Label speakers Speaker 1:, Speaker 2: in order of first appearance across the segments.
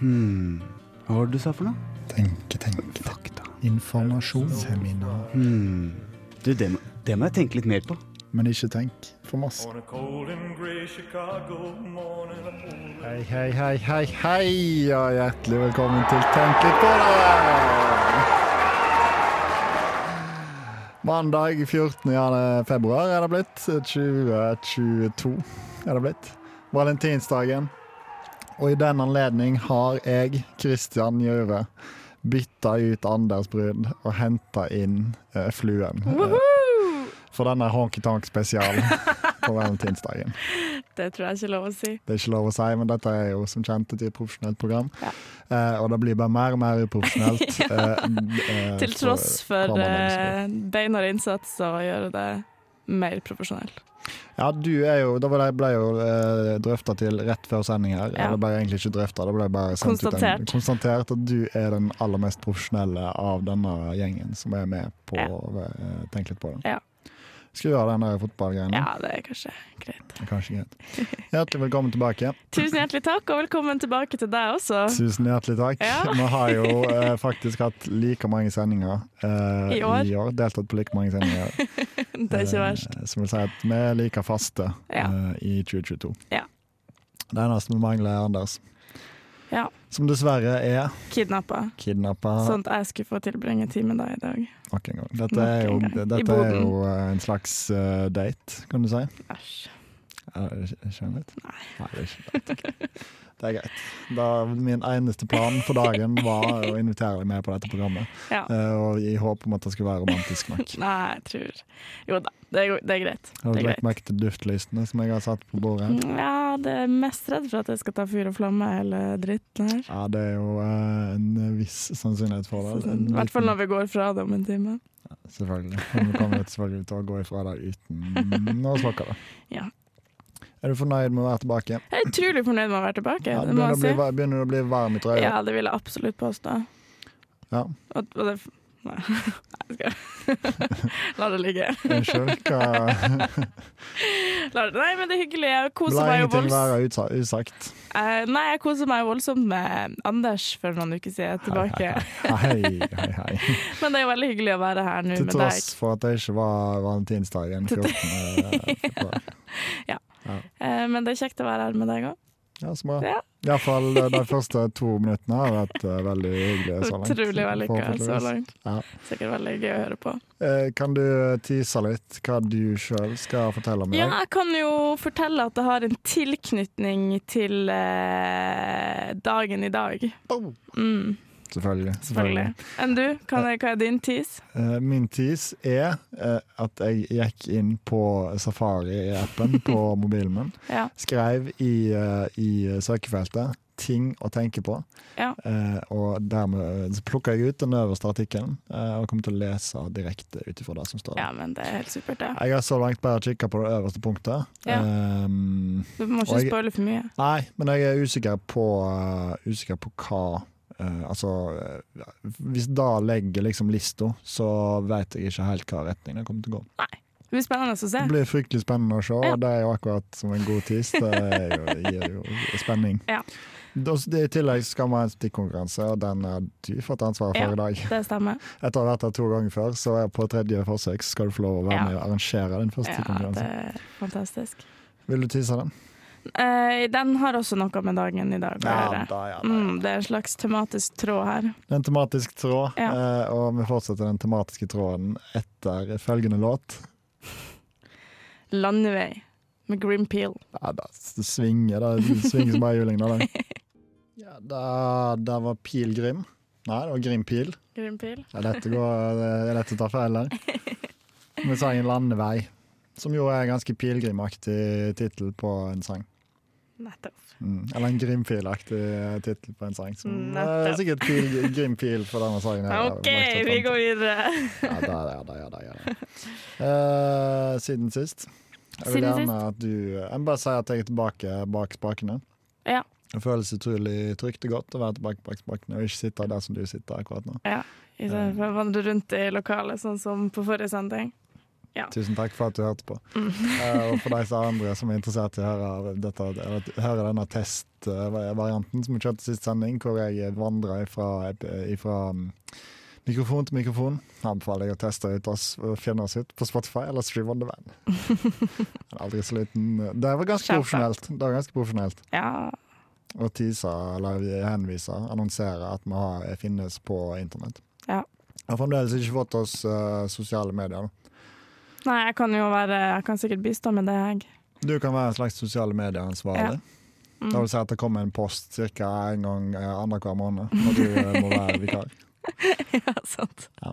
Speaker 1: Hmm. Hva var det du sa for noe?
Speaker 2: Tenke, tenke, tenke.
Speaker 1: Fakta.
Speaker 2: Informasjon. Seminar.
Speaker 1: Hmm. Du, det, må- det må jeg tenke litt mer på.
Speaker 2: Men ikke tenk for masse.
Speaker 3: On a cold and gray Chicago morning, I pulled
Speaker 2: Hei, hei, hei, hei, hei, og hjertelig velkommen til Tenk litt på det! Mandag 14. jane- februar er det blitt. 2022 er det blitt. Valentinsdagen. Og i den anledning har jeg, Kristian Gjøve, bytta ut Anders Brud og henta inn eh, Fluen. eh, for denne Honky Tonk-spesialen på valentinsdagen.
Speaker 4: Det tror jeg ikke er lov å si.
Speaker 2: Det er ikke lov å si, men dette er jo som kjent et profesjonelt program.
Speaker 4: Ja.
Speaker 2: Eh, og det blir bare mer og mer uprofesjonelt. eh, eh,
Speaker 4: Til tross for
Speaker 2: kameramennesker.
Speaker 4: eh, beinhard innsats og gjøre det mer profesjonelt.
Speaker 2: Ja, du er jo Da ble jeg- ble jo eh, drøfta til rett før sending her.
Speaker 4: Ja.
Speaker 2: Eller ble jeg egentlig ikke drøfta, det ble bare sendt Ut en,
Speaker 4: Konstatert.
Speaker 2: konstatert at du er den aller mest profesjonelle av denne gjengen som er med på
Speaker 4: Ja.
Speaker 2: å eh, tenke litt på det.
Speaker 4: Ja.
Speaker 2: Skru av den der fotballgreien.
Speaker 4: Ja, det er kanskje greit.
Speaker 2: Kanskje greit. Hjertelig velkommen tilbake.
Speaker 4: Tusen hjertelig takk, og velkommen tilbake til deg også.
Speaker 2: Tusen hjertelig takk.
Speaker 4: Ja.
Speaker 2: Vi har jo eh, faktisk hatt like mange sendinger eh,
Speaker 4: I år.
Speaker 2: Deltatt på like mange sendinger.
Speaker 4: Det er ikke
Speaker 2: eh,
Speaker 4: verst.
Speaker 2: Som vil si at vi er like faste
Speaker 4: Ja.
Speaker 2: eh, i 2022.
Speaker 4: Ja.
Speaker 2: Det eneste vi mangler, er Anders.
Speaker 4: Ja.
Speaker 2: Som dessverre er
Speaker 4: Kidnappa.
Speaker 2: kidnappa
Speaker 4: Sånn at jeg skulle få tilbringe tid med deg i dag.
Speaker 2: nok en gang. Dette
Speaker 4: Nok
Speaker 2: er jo,
Speaker 4: en gang. I
Speaker 2: dette er
Speaker 4: boden.
Speaker 2: jo eh, en slags eh, date, kan du si.
Speaker 4: Æsj.
Speaker 2: Er det ikke- ikke litt? Nei. det, er ikke, det, er greit. det er greit. Da, min eneste plan for dagen var å invitere deg med på dette programmet.
Speaker 4: Ja.
Speaker 2: Eh, og i håp om at det skulle være romantisk nok.
Speaker 4: Nei, jeg tror Jo da, det er, go- det er greit. Mm.
Speaker 2: Har du
Speaker 4: Det
Speaker 2: lagt
Speaker 4: er greit.
Speaker 2: merke til duftlysene som jeg har satt på bordet? her?
Speaker 4: Ja, det er mest redd for at jeg skal ta fyr og flamme eller dritten her.
Speaker 2: Ja, det er jo eh, en viss sannsynlighet for det. En
Speaker 4: sånn, I hvert fall
Speaker 2: liten-
Speaker 4: når vi går fra det om en time.
Speaker 2: Selvfølgelig. Men vi kommer jo selvfølgelig til å gå ifra det uten å slokke det.
Speaker 4: Ja.
Speaker 2: Er du fornøyd med å være tilbake?
Speaker 4: Jeg er utrolig fornøyd med å være tilbake.
Speaker 2: Ja,
Speaker 4: det må
Speaker 2: begynner, å bli,
Speaker 4: jeg si.
Speaker 2: var- begynner å bli varm i trøya?
Speaker 4: Ja, det vil jeg absolutt påstå.
Speaker 2: Ja.
Speaker 4: Og, og det Nei, jeg skal La det ligge.
Speaker 2: Unnskyld? Hva
Speaker 4: La det. Nei, men det er hyggelig. Jeg koser
Speaker 2: La
Speaker 4: meg jo
Speaker 2: ingenting
Speaker 4: voldsomt.
Speaker 2: være utsa- usagt.
Speaker 4: Eh, Nei, jeg koser meg voldsomt med Anders for noen uker siden jeg er tilbake.
Speaker 2: Hei, hei, hei.
Speaker 4: Men det er jo veldig hyggelig å være her nå
Speaker 2: Til
Speaker 4: med deg.
Speaker 2: tross for at det ikke var valentinsdagen 14. februar.
Speaker 4: Eh, Men det er kjekt å være her med deg òg.
Speaker 2: Ja, så bra.
Speaker 4: Ja.
Speaker 2: Iallfall eh, de første to minuttene har vært eh, veldig hyggelige så langt.
Speaker 4: Utrolig vellykka så
Speaker 2: forhåpentligvis.
Speaker 4: langt.
Speaker 2: Ja.
Speaker 4: Sikkert veldig gøy å høre på.
Speaker 2: Eh, Kan du tease litt hva du sjøl skal fortelle om i
Speaker 4: Ja,
Speaker 2: dag?
Speaker 4: jeg kan jo fortelle at det har en tilknytning til eh, dagen i dag.
Speaker 2: Boom!
Speaker 4: Mm,
Speaker 2: Selvfølgelig.
Speaker 4: selvfølgelig. Enn du? Kan jeg, hva er din tease?
Speaker 2: Eh, Min tease er eh, at jeg gikk inn på Safari-appen på mobilen min.
Speaker 4: Ja.
Speaker 2: Skrev i, eh, i søkefeltet 'ting å tenke på',
Speaker 4: Ja.
Speaker 2: Eh, og dermed eh, så plukka jeg ut den øverste artikkelen eh, og kommer til å lese direkte ut ifra det som står der.
Speaker 4: ja, men det er helt supert, det.
Speaker 2: Jeg har så langt bare kikka på det øverste punktet.
Speaker 4: Ja.
Speaker 2: Ehm,
Speaker 4: Du må
Speaker 2: Og
Speaker 4: ikke
Speaker 2: jeg-
Speaker 4: spoile for mye.
Speaker 2: nei, men jeg er usikker på, eh, usikker på hva eh, Altså, eh, hvis da legger liksom lista, så vet jeg ikke helt hva retning det kommer til å gå.
Speaker 4: Det blir spennende å se.
Speaker 2: Det blir fryktelig spennende å se,
Speaker 4: Ja.
Speaker 2: og det er jo akkurat som en god tis. Det er jo, gir jo spenning.
Speaker 4: Ja.
Speaker 2: Da- det- I tillegg skal vi ha en stikkonkurranse, og den har du fått ansvaret for
Speaker 4: Ja.
Speaker 2: i dag.
Speaker 4: Det stemmer.
Speaker 2: Etter å ha vært her to ganger før, så er på tredje forsøk så skal du få lov å være
Speaker 4: Ja.
Speaker 2: med og arrangere din første
Speaker 4: Ja, det
Speaker 2: stikkonkurranse.
Speaker 4: er fantastisk.
Speaker 2: Vil du tise den?
Speaker 4: Eh, den har også noe med dagen i dag å
Speaker 2: Ja,
Speaker 4: gjøre.
Speaker 2: da, ja, da, ja.
Speaker 4: Mm, det er en slags tematisk tråd her.
Speaker 2: Det er en tematisk tråd,
Speaker 4: Ja.
Speaker 2: eh, og vi fortsetter den tematiske tråden etter følgende låt.
Speaker 4: Landevei med Grim Peel.
Speaker 2: Ja, da, s- det svinger da. det svinger som bare juling. Da, da. Ja, da, da var Pil Grim. Nei, det var Grim Pil.
Speaker 4: Grim Peel?
Speaker 2: Det er lett å, gå, det er lett å ta feil der. Med sangen 'Landevei', som jo er en ganske pilegrimaktig tittel på en sang.
Speaker 4: Nettopp.
Speaker 2: Mm. Eller en Grimfil-aktig tittel på en sang. Som, eh,
Speaker 4: Mm, Nettopp.
Speaker 2: sikkert pil, Grimfil for denne sangen. her.
Speaker 4: OK, vi går videre.
Speaker 2: Ja da, ja da, ja da. Ja, da. Eh, siden sist. Jeg vil
Speaker 4: Siden
Speaker 2: gjerne at du Jeg må bare si at jeg er tilbake bak spakene.
Speaker 4: Ja.
Speaker 2: Det føles utrolig trygt og godt å være tilbake bak spakene og ikke sitte der som du sitter akkurat nå.
Speaker 4: I stedet for å vandre rundt i lokalet, sånn som på forrige sending. Ja.
Speaker 2: Tusen takk for at du hørte på.
Speaker 4: Mm.
Speaker 2: Eh, og for de som er andre som er interessert i å høre, dette, eller høre denne testvarianten som vi kjørte sist sending, hvor jeg vandra ifra, ifra mm, mikrofon til mikrofon, anbefaler jeg å teste ut oss og finne oss ut på Spotify eller Stream on the Van. En Aldri så liten Det var ganske
Speaker 4: Skjerp deg.
Speaker 2: profesjonelt. Det var ganske profesjonelt
Speaker 4: Ja.
Speaker 2: å tease eller henvise, annonsere at vi har, finnes på internett.
Speaker 4: Ja.
Speaker 2: Jeg har fremdeles ikke fått oss eh, sosiale medier. da.
Speaker 4: Nei, jeg kan jo være Jeg kan sikkert bistå med det, jeg.
Speaker 2: Du kan være en slags sosiale medier-ansvarlig. Det
Speaker 4: Mm.
Speaker 2: vil si at det kommer en post ca. en gang eh, annenhver måned, og du eh, må være vikar.
Speaker 4: Ja, sant.
Speaker 2: Ja.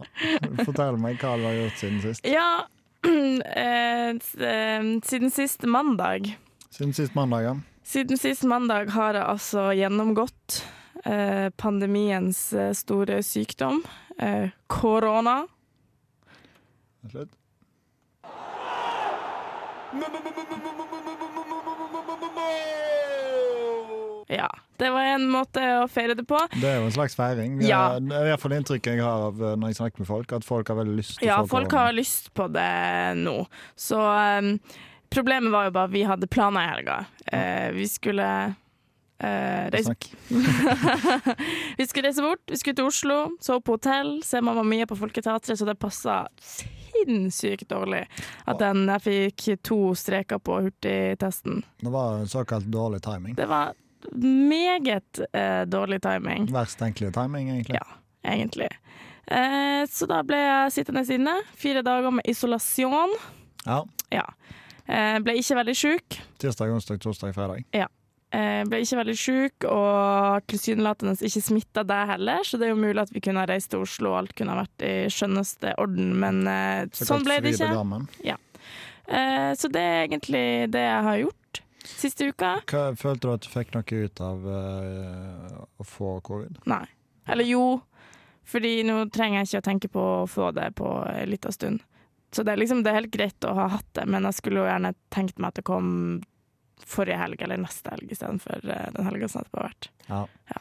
Speaker 2: Fortell meg hva du har gjort siden sist.
Speaker 4: Ja, eh, s- eh, siden sist mandag
Speaker 2: Siden sist mandag, ja.
Speaker 4: Siden sist mandag har jeg altså gjennomgått eh, pandemiens eh, store sykdom, eh, korona.
Speaker 2: Slutt.
Speaker 4: Ja, det var en måte å feire det på.
Speaker 2: Det er jo en slags feiring. Vi
Speaker 4: Ja.
Speaker 2: har- Det er i hvert fall inntrykket jeg har av eh, når jeg snakker med folk, at folk har veldig lyst til
Speaker 4: Ja,
Speaker 2: å få
Speaker 4: folk
Speaker 2: korona.
Speaker 4: har lyst på det nå. Så eh, problemet var jo bare at vi hadde planer i helga. Eh, vi skulle eh, reise
Speaker 2: Snakk.
Speaker 4: Vi skulle reise bort, vi skulle til Oslo, sove på hotell, se Mamma Mia på Folketeatret, så det passa sinnssykt dårlig at den jeg fikk to streker på hurtigtesten.
Speaker 2: Det var en såkalt dårlig timing.
Speaker 4: Det var meget eh, dårlig timing,
Speaker 2: Verst tenkelige timing, egentlig.
Speaker 4: Ja. egentlig. Eh, så da ble jeg sittende inne, fire dager med isolasjon.
Speaker 2: Ja.
Speaker 4: Ja. Eh, ble ikke veldig sjuk.
Speaker 2: Tirsdag, onsdag, torsdag, fredag.
Speaker 4: Eh, ble ikke veldig sjuk, og har tilsynelatende ikke smitta deg heller, så det er jo mulig at vi kunne ha reist til Oslo og alt kunne ha vært i skjønneste orden, men eh, sånn ble det ikke.
Speaker 2: Programmen.
Speaker 4: Eh, så det er egentlig det jeg har gjort siste uka.
Speaker 2: Hva, følte du at du fikk noe ut av eh, å få covid?
Speaker 4: Nei. Eller jo, fordi nå trenger jeg ikke å tenke på å få det på en liten stund. Så det er liksom det er helt greit å ha hatt det, men jeg skulle jo gjerne tenkt meg at det kom forrige helg eller neste helg istedenfor eh, den helga som etterpå har vært.
Speaker 2: Ja.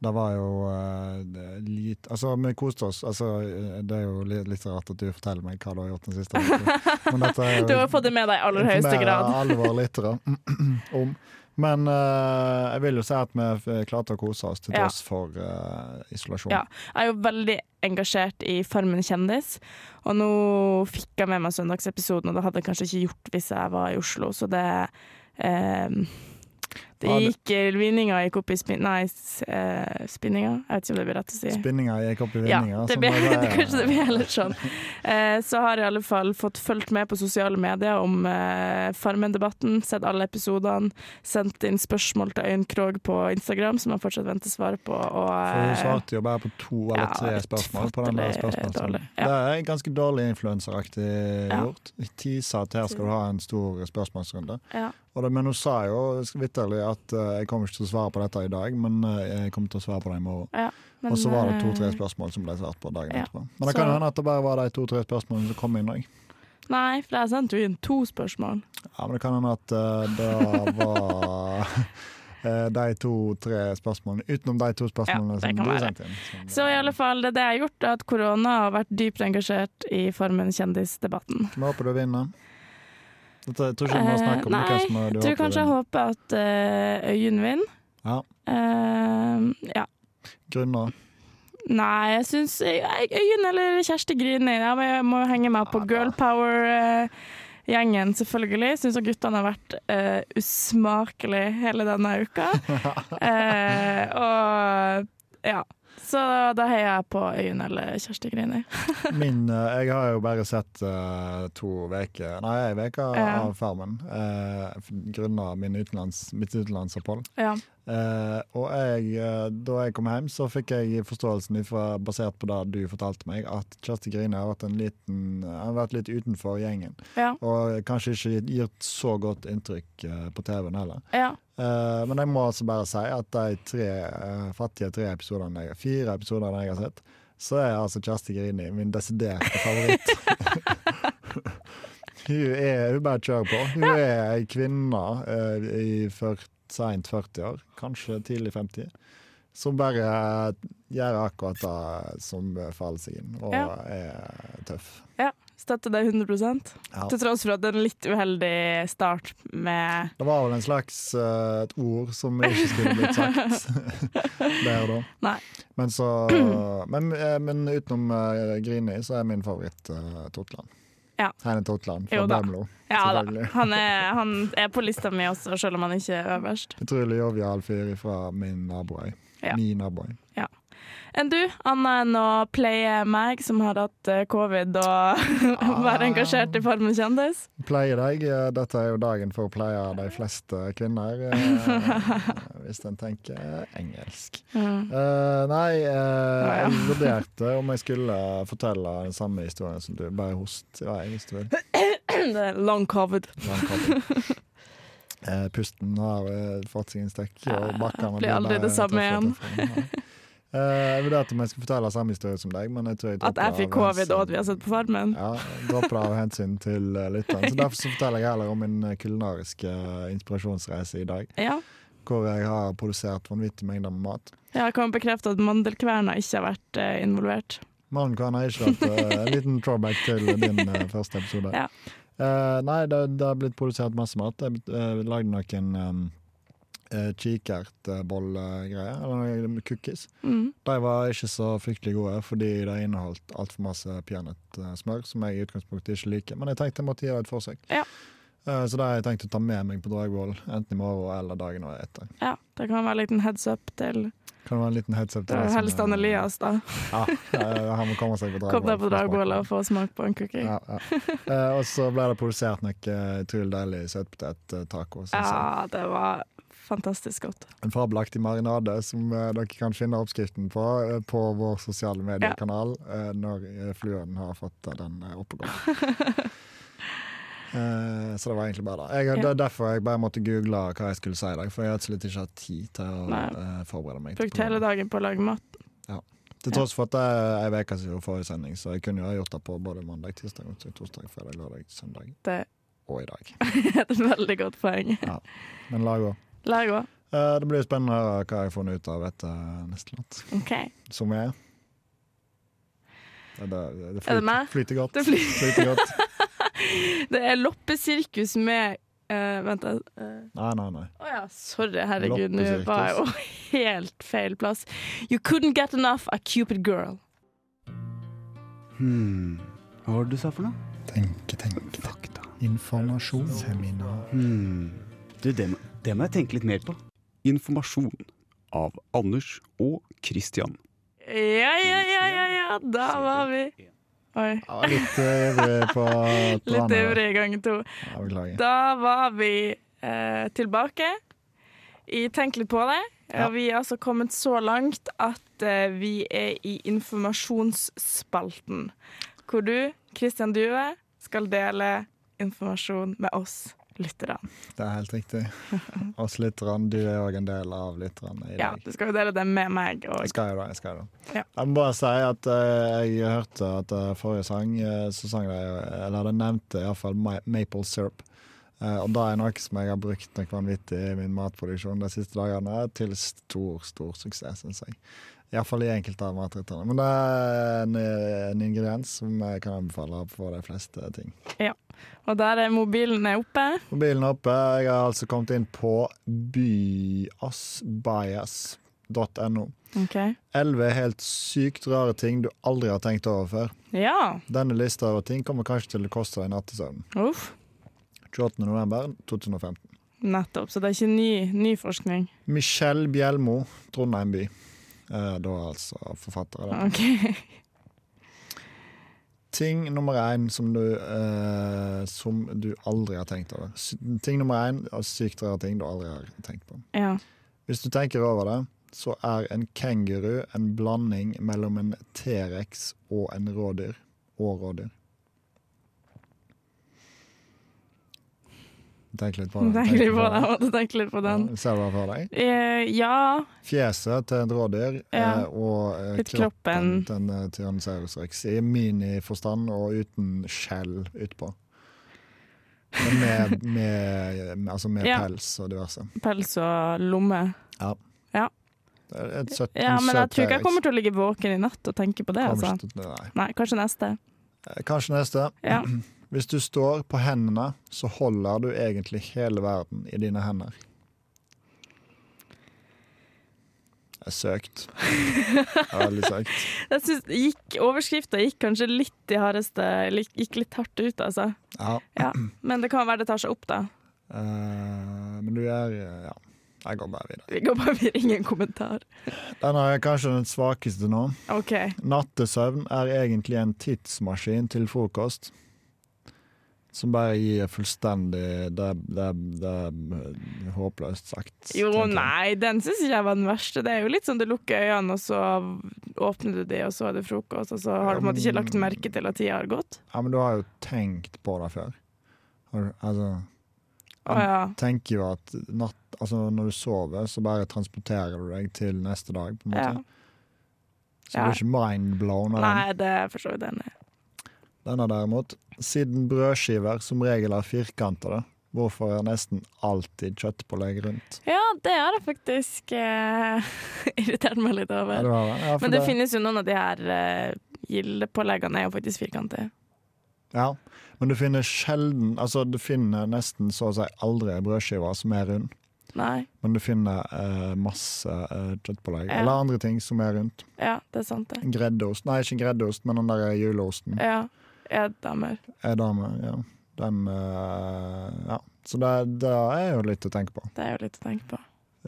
Speaker 2: Det var jo eh, det- litt Altså, vi koste oss. Altså, eh, det er jo li- litt rart at du forteller meg hva du har gjort den siste uka. Men dette er
Speaker 4: Du har fått det med deg i aller høyeste
Speaker 2: informere
Speaker 4: grad.
Speaker 2: alvor litt da, om. Men eh, jeg vil jo si at vi f- klarte å kose oss til
Speaker 4: Ja.
Speaker 2: tross for eh, isolasjon.
Speaker 4: Ja. Jeg er jo veldig engasjert i Farmen kjendis, og nå fikk jeg med meg søndagsepisoden, og det hadde jeg kanskje ikke gjort hvis jeg var i Oslo, så det ehm, Det
Speaker 2: Ja, det-
Speaker 4: gikk Vinninga gikk opp i spin... Nei, s- eh, spinninga? Jeg vet ikke om det blir rett å si.
Speaker 2: Spinninga gikk opp i
Speaker 4: Ja,
Speaker 2: vinninga.
Speaker 4: det
Speaker 2: som
Speaker 4: blir,
Speaker 2: bare-
Speaker 4: det, kanskje det blir heller sånn. Eh, så har jeg i alle fall fått fulgt med på sosiale medier om eh, Farmen-debatten, sett alle episodene, sendt inn spørsmål til Øyunn Krogh på Instagram, som jeg fortsatt venter svar på. Og,
Speaker 2: For hun
Speaker 4: eh,
Speaker 2: svarte jo bare på to eller
Speaker 4: ja,
Speaker 2: tre
Speaker 4: et
Speaker 2: spørsmål. På den der
Speaker 4: fattelig
Speaker 2: spørsmålsrunden.
Speaker 4: dårlig, ja.
Speaker 2: Det er ganske dårlig influenseraktig
Speaker 4: Ja.
Speaker 2: gjort. Tisa at her skal du ha en stor spørsmålsrunde.
Speaker 4: eh, ja.
Speaker 2: Og det, men hun sa jo vitterlig at eh, jeg kommer ikke til å svare på dette i dag, men eh, jeg kommer til å svare på det i morgen.
Speaker 4: Ja, men,
Speaker 2: Og så var det
Speaker 4: eh,
Speaker 2: to-tre spørsmål som ble svart på dagen
Speaker 4: ja.
Speaker 2: etterpå. Men det kan
Speaker 4: Så-
Speaker 2: jo hende at det bare var de to-tre spørsmålene som kom inn òg.
Speaker 4: Nei, for jeg sendte jo inn to spørsmål.
Speaker 2: Ja, men det kan hende at eh, det var eh, de to-tre spørsmålene utenom de to spørsmålene
Speaker 4: det
Speaker 2: som
Speaker 4: kan
Speaker 2: du
Speaker 4: være.
Speaker 2: sendte inn. som-
Speaker 4: Så i alle fall, det er det jeg har gjort, er at korona har vært dypt engasjert i Farmen kjendisdebatten.
Speaker 2: Vi håper du vinner. Dette, jeg tror ikke vi må snakke om
Speaker 4: Eh,
Speaker 2: hvem som er- du
Speaker 4: Jeg tror
Speaker 2: håper
Speaker 4: kanskje jeg
Speaker 2: vinner.
Speaker 4: håper at eh, Øyunn vinner.
Speaker 2: Ja,
Speaker 4: Eh, ja.
Speaker 2: grunner.
Speaker 4: Nei, jeg syns Øyunn eller Kjersti Grini. Jeg må, jeg må henge meg på
Speaker 2: Ja, da.
Speaker 4: girl power-gjengen, selvfølgelig. Syns guttene har vært eh, usmakelig hele denne uka. Eh, og ja. Så da heier jeg på Øyunn eller Kjersti Grini.
Speaker 2: Min, eh, jeg har jo bare sett eh, to veker, nei, en veke
Speaker 4: Ja.
Speaker 2: av Farmen. eh, f- grunnet min utenlands, mitt utenlandsopphold.
Speaker 4: Ja.
Speaker 2: Eh, og jeg, eh, da jeg kom hjem, så fikk jeg forståelsen ifra, basert på det du fortalte meg, at Kjersti Grine har vært, en liten, eh, har vært litt utenfor gjengen.
Speaker 4: Ja.
Speaker 2: Og kanskje ikke gir så godt inntrykk eh, på TV-en heller.
Speaker 4: ja.
Speaker 2: Eh, men jeg må altså bare si at de tre eh, fattige tre episodene jeg, fire episodene jeg har sett, så er altså Kjersti Grini min desiderte favoritt. hun, er, hun bare kjører på. Hun er ei kvinne eh, i 40, seint 40 år, kanskje tidlig 50, som bare eh, gjør akkurat det som faller seg inn, og
Speaker 4: Ja.
Speaker 2: er tøff.
Speaker 4: Støtter det 100
Speaker 2: Ja.
Speaker 4: Til tross for at det er en litt uheldig start med
Speaker 2: Det var vel en slags eh, et ord som ikke skulle blitt sagt der da.
Speaker 4: Nei.
Speaker 2: Men, så, men, eh, men utenom eh, Grini, så er min favoritt eh, Totland.
Speaker 4: Ja.
Speaker 2: Heine Totland
Speaker 4: Jo
Speaker 2: fra
Speaker 4: da.
Speaker 2: Bømlo.
Speaker 4: Ja da.
Speaker 2: Selvfølgelig.
Speaker 4: Han er, han er på lista mi også, selv om han ikke er øverst.
Speaker 2: Utrolig jovial fyr fra min naboøy.
Speaker 4: Ja.
Speaker 2: Min naboøy.
Speaker 4: Enn du, annet enn å playe meg, som har hatt eh, covid og være engasjert i Farmen kjendis?
Speaker 2: Pleie deg. eh, Dette er jo dagen for å pleie de fleste kvinner, eh, hvis en tenker engelsk.
Speaker 4: Mm.
Speaker 2: Eh, nei, eh,
Speaker 4: ja.
Speaker 2: jeg vurderte om jeg skulle fortelle den samme historien som du. Bare host i vei, hvis du vil.
Speaker 4: Det er long covid.
Speaker 2: Lang kaffe. Eh, pusten har eh, fått seg en stekk, og
Speaker 4: Ja,
Speaker 2: bakkene
Speaker 4: blir aldri
Speaker 2: bare
Speaker 4: det samme
Speaker 2: tøffere og tøffere. Nei. Eh, jeg vurderte om jeg skulle fortelle samme historie som deg, men jeg tror jeg
Speaker 4: At jeg
Speaker 2: dropper
Speaker 4: fikk
Speaker 2: av
Speaker 4: covid og at vi har
Speaker 2: hensyn-
Speaker 4: sett på Farmen?
Speaker 2: Ja, dropper det av hensyn til eh, lytteren. Så derfor så forteller jeg heller om min eh, kulinariske eh, inspirasjonsreise i dag,
Speaker 4: Ja.
Speaker 2: hvor jeg har produsert vanvittige mengder med mat.
Speaker 4: Jeg kan bekrefte at mandelkverna ikke har vært eh, involvert.
Speaker 2: Malmkvann har ikke vært eh, en liten throwback til din eh, første episode.
Speaker 4: Ja.
Speaker 2: Eh, nei, det, det har blitt produsert masse mat. Jeg uh, lagde noen um, uh, kikertbollegreier, eller noen cookies.
Speaker 4: Mm.
Speaker 2: De var ikke så fryktelig gode fordi de inneholdt altfor masse peanøttsmør, som jeg i utgangspunktet ikke liker. Men jeg tenkte jeg måtte gi det et forsøk.
Speaker 4: Ja.
Speaker 2: Eh, så det har jeg tenkt å ta med meg på Dragvoll, enten i morgen eller dagen etter.
Speaker 4: Ja, det kan være en liten heads up til
Speaker 2: Kan det sånn, eh, være en liten heads up til deg som-
Speaker 4: helst Anne Elias, da.
Speaker 2: Ja, eh, han må komme seg på Dragvoll.
Speaker 4: Kom deg på
Speaker 2: for å smake.
Speaker 4: Dragvoll og få smak på en cookie.
Speaker 2: Ja, ja. Eh, og så ble det produsert noe utrolig deilig eh, søtpotet-taco. synes jeg.
Speaker 4: Ja, det var fantastisk godt.
Speaker 2: En fabelaktig marinade som eh, dere kan finne oppskriften på eh, på vår sosiale mediekanal eh, når eh, fluen har fått eh, den eh, opp og gå. Eh, så det var egentlig bare det. Jeg, det
Speaker 4: Ja.
Speaker 2: er derfor jeg bare måtte google hva jeg skulle si i dag. For jeg har rett og slett ikke hatt tid til å
Speaker 4: Nei.
Speaker 2: eh, forberede meg. til
Speaker 4: Brukt hele
Speaker 2: programmet.
Speaker 4: dagen på å lage mat.
Speaker 2: Til tross for at det er ei uke siden forrige sending, så jeg kunne jo ha gjort det på både mandag, tirsdag, onsdag, torsdag, fredag, lørdag, søndag
Speaker 4: Det
Speaker 2: og i dag.
Speaker 4: er et veldig godt poeng.
Speaker 2: Men la gå.
Speaker 4: Lag òg.
Speaker 2: Eh, Det blir spennende å høre hva jeg har funnet ut av etter neste låt,
Speaker 4: OK.
Speaker 2: som er Det, det, det, flyter,
Speaker 4: Er det meg?
Speaker 2: flyter godt.
Speaker 4: Det fly-
Speaker 2: flyter godt.
Speaker 4: Det er loppesirkus med eh, Vent, jeg eh,
Speaker 2: Nei, nei, nei.
Speaker 4: Å ja, sorry. Herregud, nå
Speaker 2: Loppesirkus.
Speaker 4: var jeg jo helt feil plass. You couldn't get enough a cupid girl.
Speaker 1: Hmm. Hva var det du sa for noe?
Speaker 2: Tenke, tenke.
Speaker 1: Fakta.
Speaker 2: Informasjon. Seminar.
Speaker 1: Hmm. Du, det, må- det må jeg tenke litt mer på.
Speaker 5: Informasjon av Anders og Christian.
Speaker 4: Ja, ja, ja, ja, ja, da var vi Oi.
Speaker 2: Ja, litt eh, ivrig på
Speaker 4: Litt
Speaker 2: trådene.
Speaker 4: ivrig gang to.
Speaker 2: Ja, beklager.
Speaker 4: Da var vi eh, tilbake i Tenk litt på det.
Speaker 2: Ja.
Speaker 4: Og vi er altså kommet så langt at eh, vi er i informasjonsspalten. Hvor du, Kristian Due, skal dele informasjon med oss lytterne.
Speaker 2: Det er helt riktig. Oss lytterne, du er òg en del av lytterne i
Speaker 4: Ja,
Speaker 2: dag.
Speaker 4: du skal jo dele det med meg
Speaker 2: Jeg
Speaker 4: og
Speaker 2: skal jo det. Jeg skal jo det.
Speaker 4: Ja.
Speaker 2: Jeg må bare si at eh, jeg hørte at eh, forrige sang, eh, så sang de Eller de nevnte iallfall maple syrup. Eh, og det er noe som jeg har brukt nok vanvittig i min matproduksjon de siste dagene, til stor, stor suksess, syns jeg. Iallfall i enkelte av matrettene. Men det er en, eh, en ingrediens som jeg kan anbefale for de fleste ting.
Speaker 4: Og der er mobilen er oppe.
Speaker 2: Mobilen er oppe. Jeg har altså kommet inn på byasbias.no.
Speaker 4: OK.
Speaker 2: Elleve helt sykt rare ting du aldri har tenkt over før.
Speaker 4: Ja.
Speaker 2: Denne lista over ting kommer kanskje til å koste deg nattesøvnen.
Speaker 4: Uff.
Speaker 2: 28. november 2015.
Speaker 4: Nettopp. Så det er ikke ny, ny forskning.
Speaker 2: Michelle Bjelmo, Trondheim by. Eh, da altså forfatter av den.
Speaker 4: OK.
Speaker 2: Ting nummer én som du eh, Som du aldri har tenkt over. Sy ting nummer én av sykt rare ting du aldri har tenkt på.
Speaker 4: Ja.
Speaker 2: Hvis du tenker over det, så er en kenguru en blanding mellom en T-rex og en rådyr. Og rådyr. Tenk litt på det.
Speaker 4: Tenk litt på det. Jeg måtte tenke litt på den.
Speaker 2: Ja, ser du det for deg?
Speaker 4: Eh, ja.
Speaker 2: Fjeset til en rådyr
Speaker 4: Ja.
Speaker 2: eh, og eh,
Speaker 4: Litt
Speaker 2: kroppen,
Speaker 4: kroppen.
Speaker 2: til en eh, tyrannosaurus rex. I miniforstand og uten skjell utpå. Men Med, med, med, altså med
Speaker 4: Ja.
Speaker 2: pels og diverse.
Speaker 4: Pels og lomme.
Speaker 2: Det er Et søtt,
Speaker 4: Ja,
Speaker 2: en
Speaker 4: men
Speaker 2: søt
Speaker 4: jeg tror ikke jeg
Speaker 2: T-rex.
Speaker 4: kommer til å ligge våken i natt og tenke på det.
Speaker 2: Kommer
Speaker 4: altså.
Speaker 2: ikke til- Nei.
Speaker 4: Nei, kanskje neste.
Speaker 2: Eh, Kanskje neste.
Speaker 4: Ja.
Speaker 2: Hvis du står på hendene, så holder du egentlig hele verden i dine hender. Det er søkt. Det er Veldig søkt.
Speaker 4: Jeg synes gikk, Overskrifta gikk kanskje litt i hardeste lik- Gikk litt hardt ut, altså.
Speaker 2: Ja.
Speaker 4: Ja. Men det kan være det tar seg opp, da.
Speaker 2: Eh, men du er Ja, jeg går bare videre.
Speaker 4: Vi går bare vi ringer en kommentar.
Speaker 2: Den er kanskje den svakeste nå.
Speaker 4: OK.
Speaker 2: Nattesøvn er egentlig en tidsmaskin til frokost. Som bare gir fullstendig Det er eh, håpløst sagt.
Speaker 4: Jo,
Speaker 2: tenker jeg.
Speaker 4: nei, den syns ikke jeg var den verste. Det er jo litt sånn du lukker øynene, og så åpner du de, og så er det frokost, og så har du på en måte ikke lagt merke til at tida har gått.
Speaker 2: Ja, men du har jo tenkt på det før. Har du- Altså,
Speaker 4: Å ja.
Speaker 2: tenker jo at natt, altså når du sover, så bare transporterer du deg til neste dag, på en
Speaker 4: ja.
Speaker 2: måte. Så du
Speaker 4: ja.
Speaker 2: er ikke mindblown av den.
Speaker 4: Nei, det er jeg for så vidt enig. i.
Speaker 2: Denne derimot. Siden brødskiver som regel er firkantede, hvorfor er nesten alltid kjøttpålegg rundt?
Speaker 4: Ja, det har jeg faktisk eh, irritert meg litt
Speaker 2: Ja,
Speaker 4: over.
Speaker 2: du har det. Ja, for
Speaker 4: Men det finnes jo noen av de her uh, gildepåleggene er jo faktisk firkantige.
Speaker 2: Ja, men du finner sjelden Altså, du finner nesten så å si aldri brødskiver som er rund,
Speaker 4: Nei.
Speaker 2: men du finner eh, masse eh, kjøttpålegg.
Speaker 4: Ja.
Speaker 2: Eller andre ting som er rundt.
Speaker 4: Ja, det er sant, det.
Speaker 2: Greddeost. Nei, ikke greddeost, men den der juleosten.
Speaker 4: Ja. Jeg damer.
Speaker 2: Er dame, ja. Den eh, Ja. Så det, det er jo litt å tenke på.
Speaker 4: Det er jo litt å tenke på.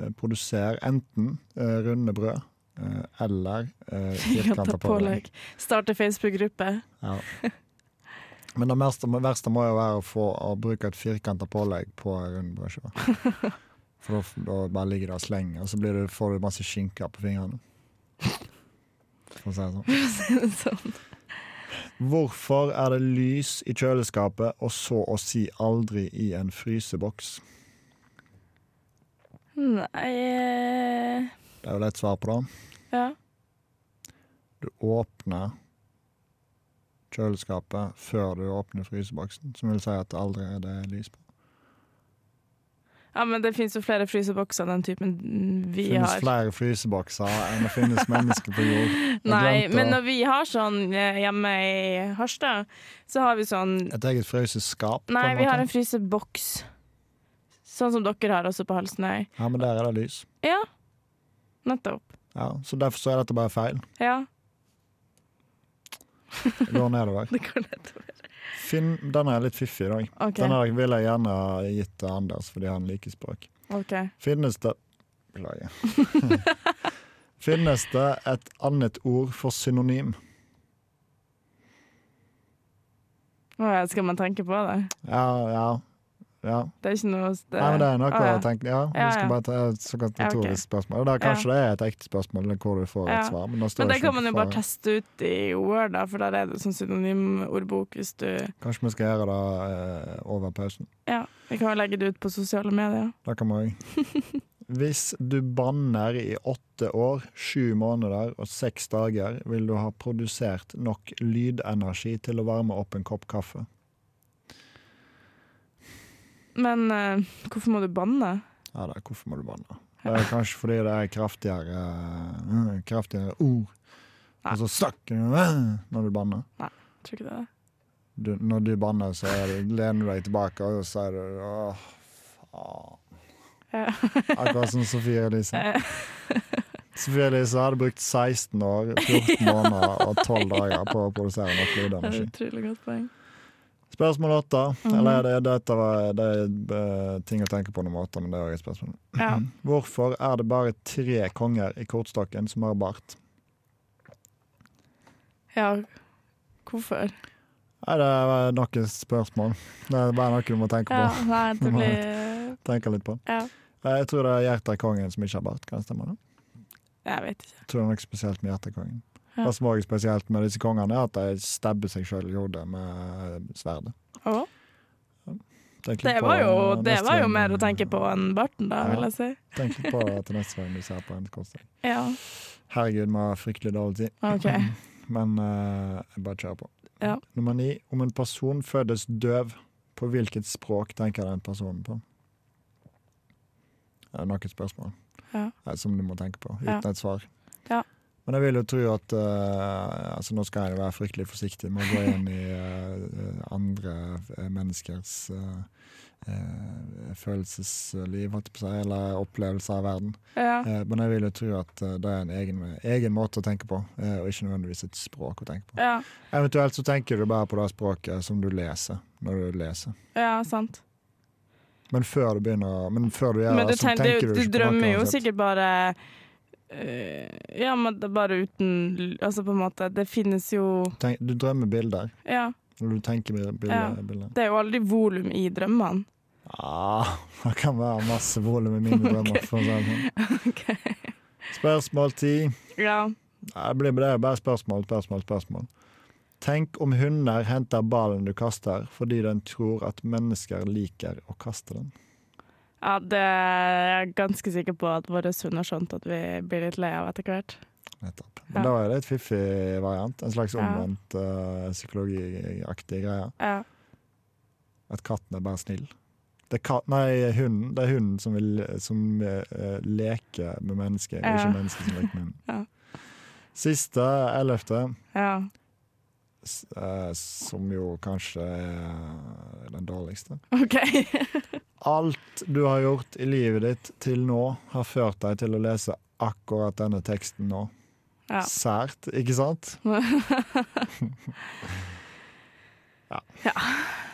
Speaker 2: Eh, Produser enten eh, runde brød eh, eller uh,
Speaker 4: Firkanta
Speaker 2: firkanta pålegg.
Speaker 4: pålegg. Starte Facebook-gruppe.
Speaker 2: Ja. Men det verste, verste må jo være å, få, å bruke et firkanta pålegg på rund brødskive. For da, f- da bare ligger det og slenger, og så blir det, får du masse skinke på fingrene. For å si det sånn.
Speaker 4: sånn.
Speaker 2: Hvorfor er det lys i kjøleskapet, og så å si aldri i en fryseboks?
Speaker 4: Nei eh,
Speaker 2: Det er jo lett svar på det.
Speaker 4: Ja.
Speaker 2: Du åpner kjøleskapet før du åpner fryseboksen, som vil si at det aldri er det lys på.
Speaker 4: ja, men det fins jo flere frysebokser av den typen vi
Speaker 2: Det finnes
Speaker 4: har.
Speaker 2: flere frysebokser enn det finnes mennesker på jord. Jeg
Speaker 4: Nei,
Speaker 2: glemte
Speaker 4: men
Speaker 2: å-
Speaker 4: når vi har sånn eh, hjemme i Harstad, så har vi sånn
Speaker 2: Et eget fryseskap? på
Speaker 4: Nei,
Speaker 2: en
Speaker 4: vi
Speaker 2: måte.
Speaker 4: har en fryseboks. Sånn som dere har også på Halsnøy.
Speaker 2: Ja, men der er det lys.
Speaker 4: Ja, nettopp.
Speaker 2: Ja, så derfor så er dette bare feil.
Speaker 4: Ja,
Speaker 2: Det går nedover.
Speaker 4: det går nettopp.
Speaker 2: Finn, denne er litt fiffig i dag.
Speaker 4: OK.
Speaker 2: Denne vil jeg gjerne ha gitt til Anders, fordi han liker språk.
Speaker 4: ok.
Speaker 2: Finnes det Beklager. Finnes det et annet ord for synonym?
Speaker 4: Å ja, skal man tenke på det?
Speaker 2: Ja, ja. ja.
Speaker 4: Det er ikke noe det...
Speaker 2: Nei, men det er noe
Speaker 4: Å, ja.
Speaker 2: å tenke Ja,
Speaker 4: Ja,
Speaker 2: du skal
Speaker 4: ja.
Speaker 2: bare ta et såkalt
Speaker 4: Ja, ok.
Speaker 2: retorisk spørsmål. Da, kanskje det er et ekte spørsmål eller hvor du får
Speaker 4: Ja.
Speaker 2: et svar. Men, da står
Speaker 4: Men det
Speaker 2: ikke
Speaker 4: kan man jo
Speaker 2: noe
Speaker 4: bare
Speaker 2: for-
Speaker 4: teste ut i Word, da, for der er det jo sånn synonymordbok hvis du
Speaker 2: Kanskje vi skal gjøre det eh, over pausen.
Speaker 4: Ja, vi kan jo legge det ut på sosiale medier.
Speaker 2: Det kan vi òg. Hvis du banner i åtte år, sju måneder og seks dager, vil du ha produsert nok lydenergi til å varme opp en kopp kaffe.
Speaker 4: Men eh, hvorfor må du banne?
Speaker 2: Ja, det er, hvorfor må du banne? Det er kanskje fordi det er kraftigere, eh, kraftigere ord.
Speaker 4: Nei.
Speaker 2: Og så snakker du eh, når du banner.
Speaker 4: Tror ikke det er det.
Speaker 2: Du, når du banner, så er det, lener du deg tilbake og så sier du åh, faen.
Speaker 4: Ja.
Speaker 2: Akkurat som Sofie Elise. Sofie Elise hadde brukt 16 år, 14 måneder og 12 dager på å produsere nok
Speaker 4: Det er
Speaker 2: lydenergi.
Speaker 4: et utrolig godt poeng.
Speaker 2: Spørsmål åtte. Eller det, dette var det er, eh, ting å tenke på nummer åtte, men det er også et spørsmål.
Speaker 4: Ja.
Speaker 2: Mm. Hvorfor er det bare tre konger i kortstokken som har bart?
Speaker 4: ja. Hvorfor?
Speaker 2: Nei, det var nok et spørsmål. Det er bare noe du må tenke
Speaker 4: Ja,
Speaker 2: på.
Speaker 4: nei, det blir
Speaker 2: Tenke litt på.
Speaker 4: Ja.
Speaker 2: Eh, Jeg tror det er Hjertekongen som ikke har bart, kan det stemme? det?
Speaker 4: Jeg vet ikke.
Speaker 2: Jeg tror det er noe spesielt med Hjertekongen.
Speaker 4: Ja.
Speaker 2: Det som også er spesielt med disse kongene, er at de stabber seg sjøl i hodet med sverdet.
Speaker 4: Å?
Speaker 2: Tenk litt
Speaker 4: Det
Speaker 2: på
Speaker 4: var jo, det
Speaker 2: neste
Speaker 4: var jo
Speaker 2: gang-
Speaker 4: mer å tenke på enn barten, da,
Speaker 2: eh, Ja.
Speaker 4: vil jeg si.
Speaker 2: Tenk litt på det til neste gang du ser på en kortstokk.
Speaker 4: Ja,
Speaker 2: Herregud, vi har fryktelig dårlig tid.
Speaker 4: OK.
Speaker 2: Men eh, jeg bare kjører på.
Speaker 4: Ja.
Speaker 2: Nummer ni. Om en person fødes døv, på hvilket språk tenker den personen på? Det er nok et spørsmål
Speaker 4: Ja.
Speaker 2: eh, som du må tenke på, uten
Speaker 4: Ja.
Speaker 2: et svar.
Speaker 4: Ja.
Speaker 2: Men jeg vil jo tro at eh, altså Nå skal jeg jo være fryktelig forsiktig med å gå inn i eh, andre eh, menneskers eh, eh, følelsesliv, holdt jeg på å si, eller opplevelser av verden.
Speaker 4: Ja.
Speaker 2: Eh, men jeg vil jo tro at eh, det er en egen, egen måte å tenke på, eh, og ikke nødvendigvis et språk å tenke på.
Speaker 4: Ja,
Speaker 2: Eventuelt så tenker du bare på det språket som du leser, når du leser.
Speaker 4: ja sant.
Speaker 2: Men før du begynner å- Men før du gjør
Speaker 4: men du,
Speaker 2: det, så
Speaker 4: tenker,
Speaker 2: altså, tenker
Speaker 4: du,
Speaker 2: du,
Speaker 4: du
Speaker 2: ikke på noe
Speaker 4: drømmer jo
Speaker 2: uansett.
Speaker 4: sikkert bare eh, Ja, men det er bare uten l- Altså på en måte, det finnes jo
Speaker 2: Tenk, du drømmer bilder.
Speaker 4: Ja,
Speaker 2: Når du tenker bilder.
Speaker 4: Ja.
Speaker 2: bilder.
Speaker 4: det er jo aldri volum i drømmene.
Speaker 2: Ah, det kan være masse volum i mine drømmer. For å si det sånn. Spørsmål ti.
Speaker 4: Ja.
Speaker 2: Nei, Det blir det er bare spørsmål, spørsmål, spørsmål. Tenk om hunder henter ballen du kaster, fordi den tror at mennesker liker å kaste den.
Speaker 4: ja, det er jeg ganske sikker på at våre hunder har skjønt at vi blir litt lei av etter hvert.
Speaker 2: Nettopp. Men da er det et fiffig variant. En slags
Speaker 4: Ja.
Speaker 2: omvendt eh, psykologiaktig greie.
Speaker 4: Ja.
Speaker 2: At katten er bare snill. Det er, kat, nei, hunden, det er hunden som, vil, som eh, leker med mennesket,
Speaker 4: Ja.
Speaker 2: ikke mennesket som leker med hunden.
Speaker 4: Ja.
Speaker 2: Siste, ellevte,
Speaker 4: ja.
Speaker 2: s- eh, som jo kanskje er den dårligste.
Speaker 4: OK.
Speaker 2: Alt du har gjort i livet ditt til nå, har ført deg til å lese akkurat denne teksten nå.
Speaker 4: Ja.
Speaker 2: Sært, ikke sant? ja.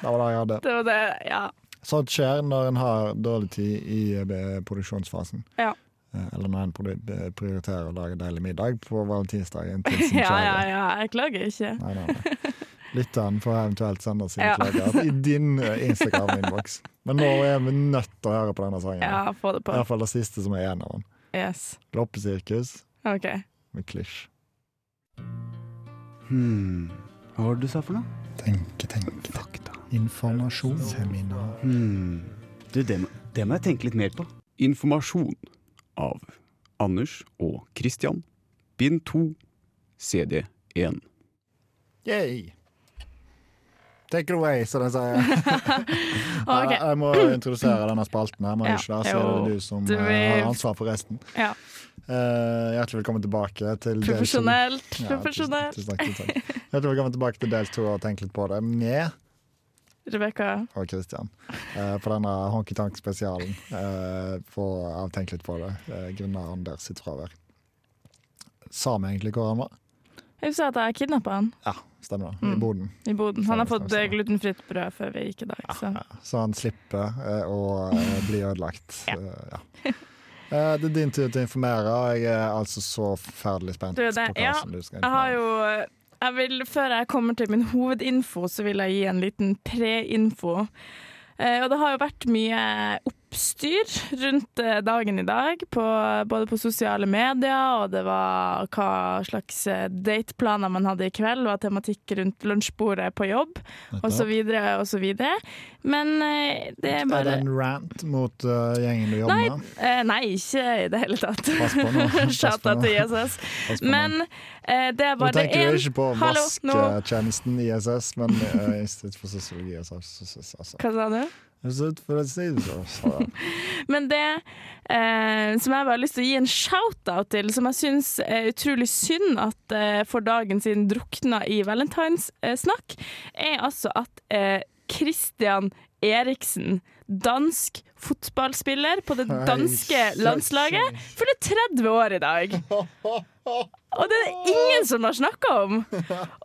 Speaker 2: Det var det jeg hadde.
Speaker 4: Det var det. Ja.
Speaker 2: Sånt skjer når en har dårlig tid i eh, produksjonsfasen.
Speaker 4: Ja.
Speaker 2: Eh, Eller når en produ- prioriterer å lage deilig middag på valentinsdagen til sin
Speaker 4: ja,
Speaker 2: kjære.
Speaker 4: ja, ja. Jeg klager ikke.
Speaker 2: Nei, nei, nei. Lytteren får eventuelt sende sine
Speaker 4: Ja.
Speaker 2: klager i din eh, Instagram-innboks. Men nå er vi nødt til å høre på denne sangen.
Speaker 4: Ja, få det
Speaker 2: I
Speaker 4: på.
Speaker 2: hvert fall det siste som er igjen av den.
Speaker 4: Yes.
Speaker 2: Loppesirkus
Speaker 4: OK.
Speaker 2: med klisj.
Speaker 1: Hmm. Hva var det du sa for noe?
Speaker 2: Tenke, tenke.
Speaker 1: Fakta.
Speaker 2: Informasjon. Seminar.
Speaker 1: Hmm. Du, det, må- det må jeg tenke litt mer på.
Speaker 5: Informasjon av Anders og Christian. Bind 2, CD 1.
Speaker 2: Yay! Take it away, som de sier.
Speaker 4: OK.
Speaker 2: Jeg, jeg må introdusere denne spalten, her, men
Speaker 4: Ja.
Speaker 2: ikke det, så er
Speaker 4: Jo,
Speaker 2: det du som
Speaker 4: du
Speaker 2: eh,
Speaker 4: vil-
Speaker 2: har ansvar for resten.
Speaker 4: Ja.
Speaker 2: Eh, hjertelig velkommen tilbake til del to.
Speaker 4: Profesjonelt.
Speaker 2: sånn- Ja,
Speaker 4: Profesjonelt.
Speaker 2: Tusen, tusen takk, tusen takk. Hjertelig velkommen tilbake til del to og tenk litt på det med
Speaker 4: Rebekka.
Speaker 2: og Christian eh, på denne Honky Tonk-spesialen eh, på av Tenk litt på det, eh, grunnet Anders sitt fravær. Sa vi egentlig hvor han var?
Speaker 4: Jeg sa at jeg kidnappa han
Speaker 2: Ja, stemmer det. I
Speaker 4: Mm.
Speaker 2: Boden.
Speaker 4: i boden. Han har fått
Speaker 2: Stemmer,
Speaker 4: eh,
Speaker 2: stemmer.
Speaker 4: glutenfritt brød før vi gikk i dag, så
Speaker 2: Så han slipper eh, å eh, bli ødelagt.
Speaker 4: Ja.
Speaker 2: Eh, ja. Eh, det er din tur til å informere, og jeg er altså så forferdelig spent
Speaker 4: Du, det-
Speaker 2: på hva
Speaker 4: ja,
Speaker 2: som du skal
Speaker 4: Jeg har
Speaker 2: informere.
Speaker 4: jo jeg vil, Før jeg kommer til min hovedinfo, så vil jeg gi en liten pre-info. Eh, og det har jo vært mye oppstyr rundt eh, dagen i dag, på, både på sosiale medier, og det var hva slags eh, dateplaner man hadde i kveld, var tematikk rundt lunsjbordet på jobb, og så videre og så videre. Men eh, det er
Speaker 2: Er det
Speaker 4: bare
Speaker 2: en rant mot eh, gjengen du jobber med?
Speaker 4: eh, Nei, ikke i det hele tatt.
Speaker 2: Pass på nå. Pass på
Speaker 4: Shout out
Speaker 2: nå.
Speaker 4: til Jesus.
Speaker 2: Pass Altså, på nå.
Speaker 4: Men eh, det er
Speaker 2: Nå
Speaker 4: bare det
Speaker 2: tenker
Speaker 4: en-
Speaker 2: du ikke på
Speaker 4: Hallo, nå-
Speaker 2: vasketjenesten ISS, men eh, Institutt for sosiologi og sosiologi. Altså.
Speaker 4: Hva sa du?
Speaker 2: Institutt for sånn. sosiologi.
Speaker 4: Men det eh, som jeg bare har lyst til å gi en shout-out til, som jeg syns er utrolig synd at eh, for dagen siden drukna i valentinssnakk, er altså at eh, Christian Eriksen, dansk fotballspiller på det danske
Speaker 2: Hei,
Speaker 4: landslaget, fyller 30 år i dag. Og det er det ingen som har snakka om!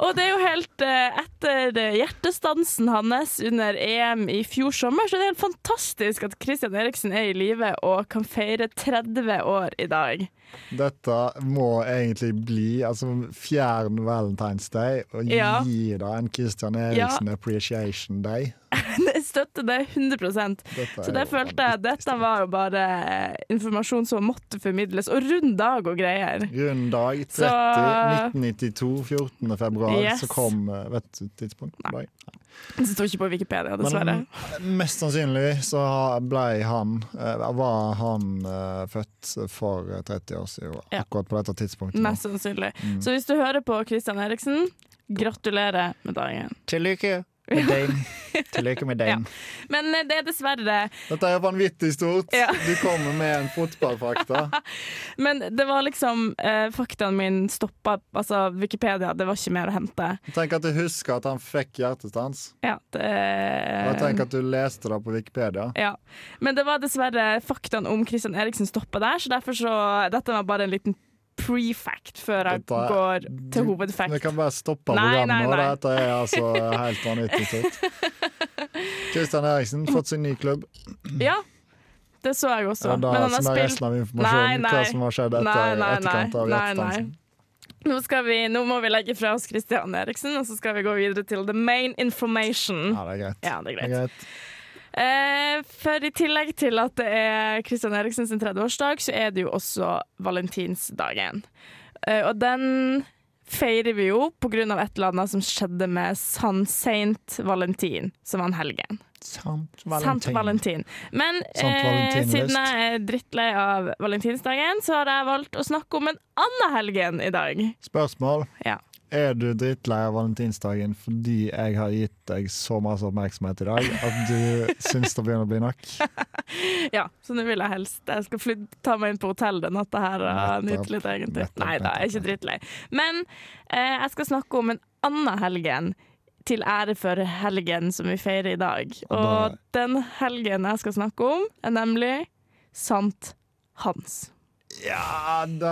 Speaker 4: Og det er jo helt eh, Etter eh, hjertestansen hans under EM i fjor sommer, så er det helt fantastisk at Christian Eriksen er i live og kan feire 30 år i dag.
Speaker 2: Dette må egentlig bli altså Fjern Valentine's Day og
Speaker 4: Ja.
Speaker 2: gi da en Christian Eriksen Appreciation Day.
Speaker 4: Jeg støtter det 100
Speaker 2: Dette
Speaker 4: Så
Speaker 2: er
Speaker 4: det
Speaker 2: jo
Speaker 4: følte jeg dette var jo bare eh, informasjon som måtte formidles, og rund dag og greier.
Speaker 2: Rund dag 30,
Speaker 4: Så-
Speaker 2: 1992, 14. februar,
Speaker 4: Yes.
Speaker 2: så kom eh, Vet du tidspunkt? på dag?
Speaker 4: Det sto ikke på Wikipedia, dessverre.
Speaker 2: Men Mm. eh, mest sannsynlig så ha- ble han eh, Var han eh, født for 30 år siden,
Speaker 4: Ja.
Speaker 2: akkurat på dette tidspunktet. nå.
Speaker 4: Mest
Speaker 2: Mm.
Speaker 4: sannsynlig. Så hvis du hører på Christian Eriksen, gratulerer med dagen.
Speaker 2: Til lykke! Med Dane. Til å leke med Dane.
Speaker 4: Men eh, det er dessverre
Speaker 2: Dette er vanvittig stort.
Speaker 4: Ja.
Speaker 2: Du kommer med en fotballfakta.
Speaker 4: Men det var liksom eh, Faktaen min stoppa Altså, Wikipedia, det var ikke mer å hente.
Speaker 2: Tenk at du husker at han fikk hjertestans.
Speaker 4: Ja,
Speaker 2: Og tenk
Speaker 4: det,
Speaker 2: at du leste det på Wikipedia.
Speaker 4: ja. Men det var dessverre faktaen om Christian Eriksen stoppa der, så derfor så Dette var bare en liten prefact før jeg
Speaker 2: Dette er-
Speaker 4: går til
Speaker 2: du- Vi
Speaker 4: hovedfact.
Speaker 2: kan bare stoppe
Speaker 4: Nei, nei,
Speaker 2: programmet nå.
Speaker 4: nei.
Speaker 2: Dette er altså helt vanvittig stort. Kristian Eriksen fått sin ny klubb.
Speaker 4: Ja, det så jeg også.
Speaker 2: Er det
Speaker 4: Men han
Speaker 2: det
Speaker 4: har
Speaker 2: som er resten
Speaker 4: spilt
Speaker 2: av informasjonen?
Speaker 4: Nei, nei.
Speaker 2: Hva som har skjedd etter
Speaker 4: Nei, nei, nei.
Speaker 2: etterkant av
Speaker 4: Nei, nei.
Speaker 2: hjertestansen?
Speaker 4: nå, skal vi, nå må vi legge fra oss Christian Eriksen, og så skal vi gå videre til the main information.
Speaker 2: Ja, det er greit.
Speaker 4: Ja, det er
Speaker 2: Det er
Speaker 4: greit.
Speaker 2: greit.
Speaker 4: Eh, for i tillegg til at det er Kristian Eriksen sin 30-årsdag, så er det jo også valentinsdagen. Eh, og den feirer vi jo på grunn av et eller annet som skjedde med San Saint Valentin, som var en helgen.
Speaker 2: Sant
Speaker 4: Sant Valentin. Men
Speaker 2: Sant
Speaker 4: eh,
Speaker 2: valentinlyst.
Speaker 4: siden jeg er drittlei av valentinsdagen, så har jeg valgt å snakke om en annen helgen i dag.
Speaker 2: Spørsmål.
Speaker 4: Ja.
Speaker 2: Er du drittlei av valentinsdagen fordi jeg har gitt deg så masse oppmerksomhet i dag at du syns det begynner å bli nok?
Speaker 4: Ja, så nå vil jeg helst Jeg skal fly, ta meg inn på hotell den natta her og
Speaker 2: Nettopp,
Speaker 4: nyte litt egentlig.
Speaker 2: nettopp,
Speaker 4: Nei da, jeg er ikke drittlei. Men eh, jeg skal snakke om en annen helgen. Til ære for helgen som vi feirer i dag. Og
Speaker 2: Og
Speaker 4: den helgen jeg skal snakke om, er nemlig Sant Hans.
Speaker 2: Ja da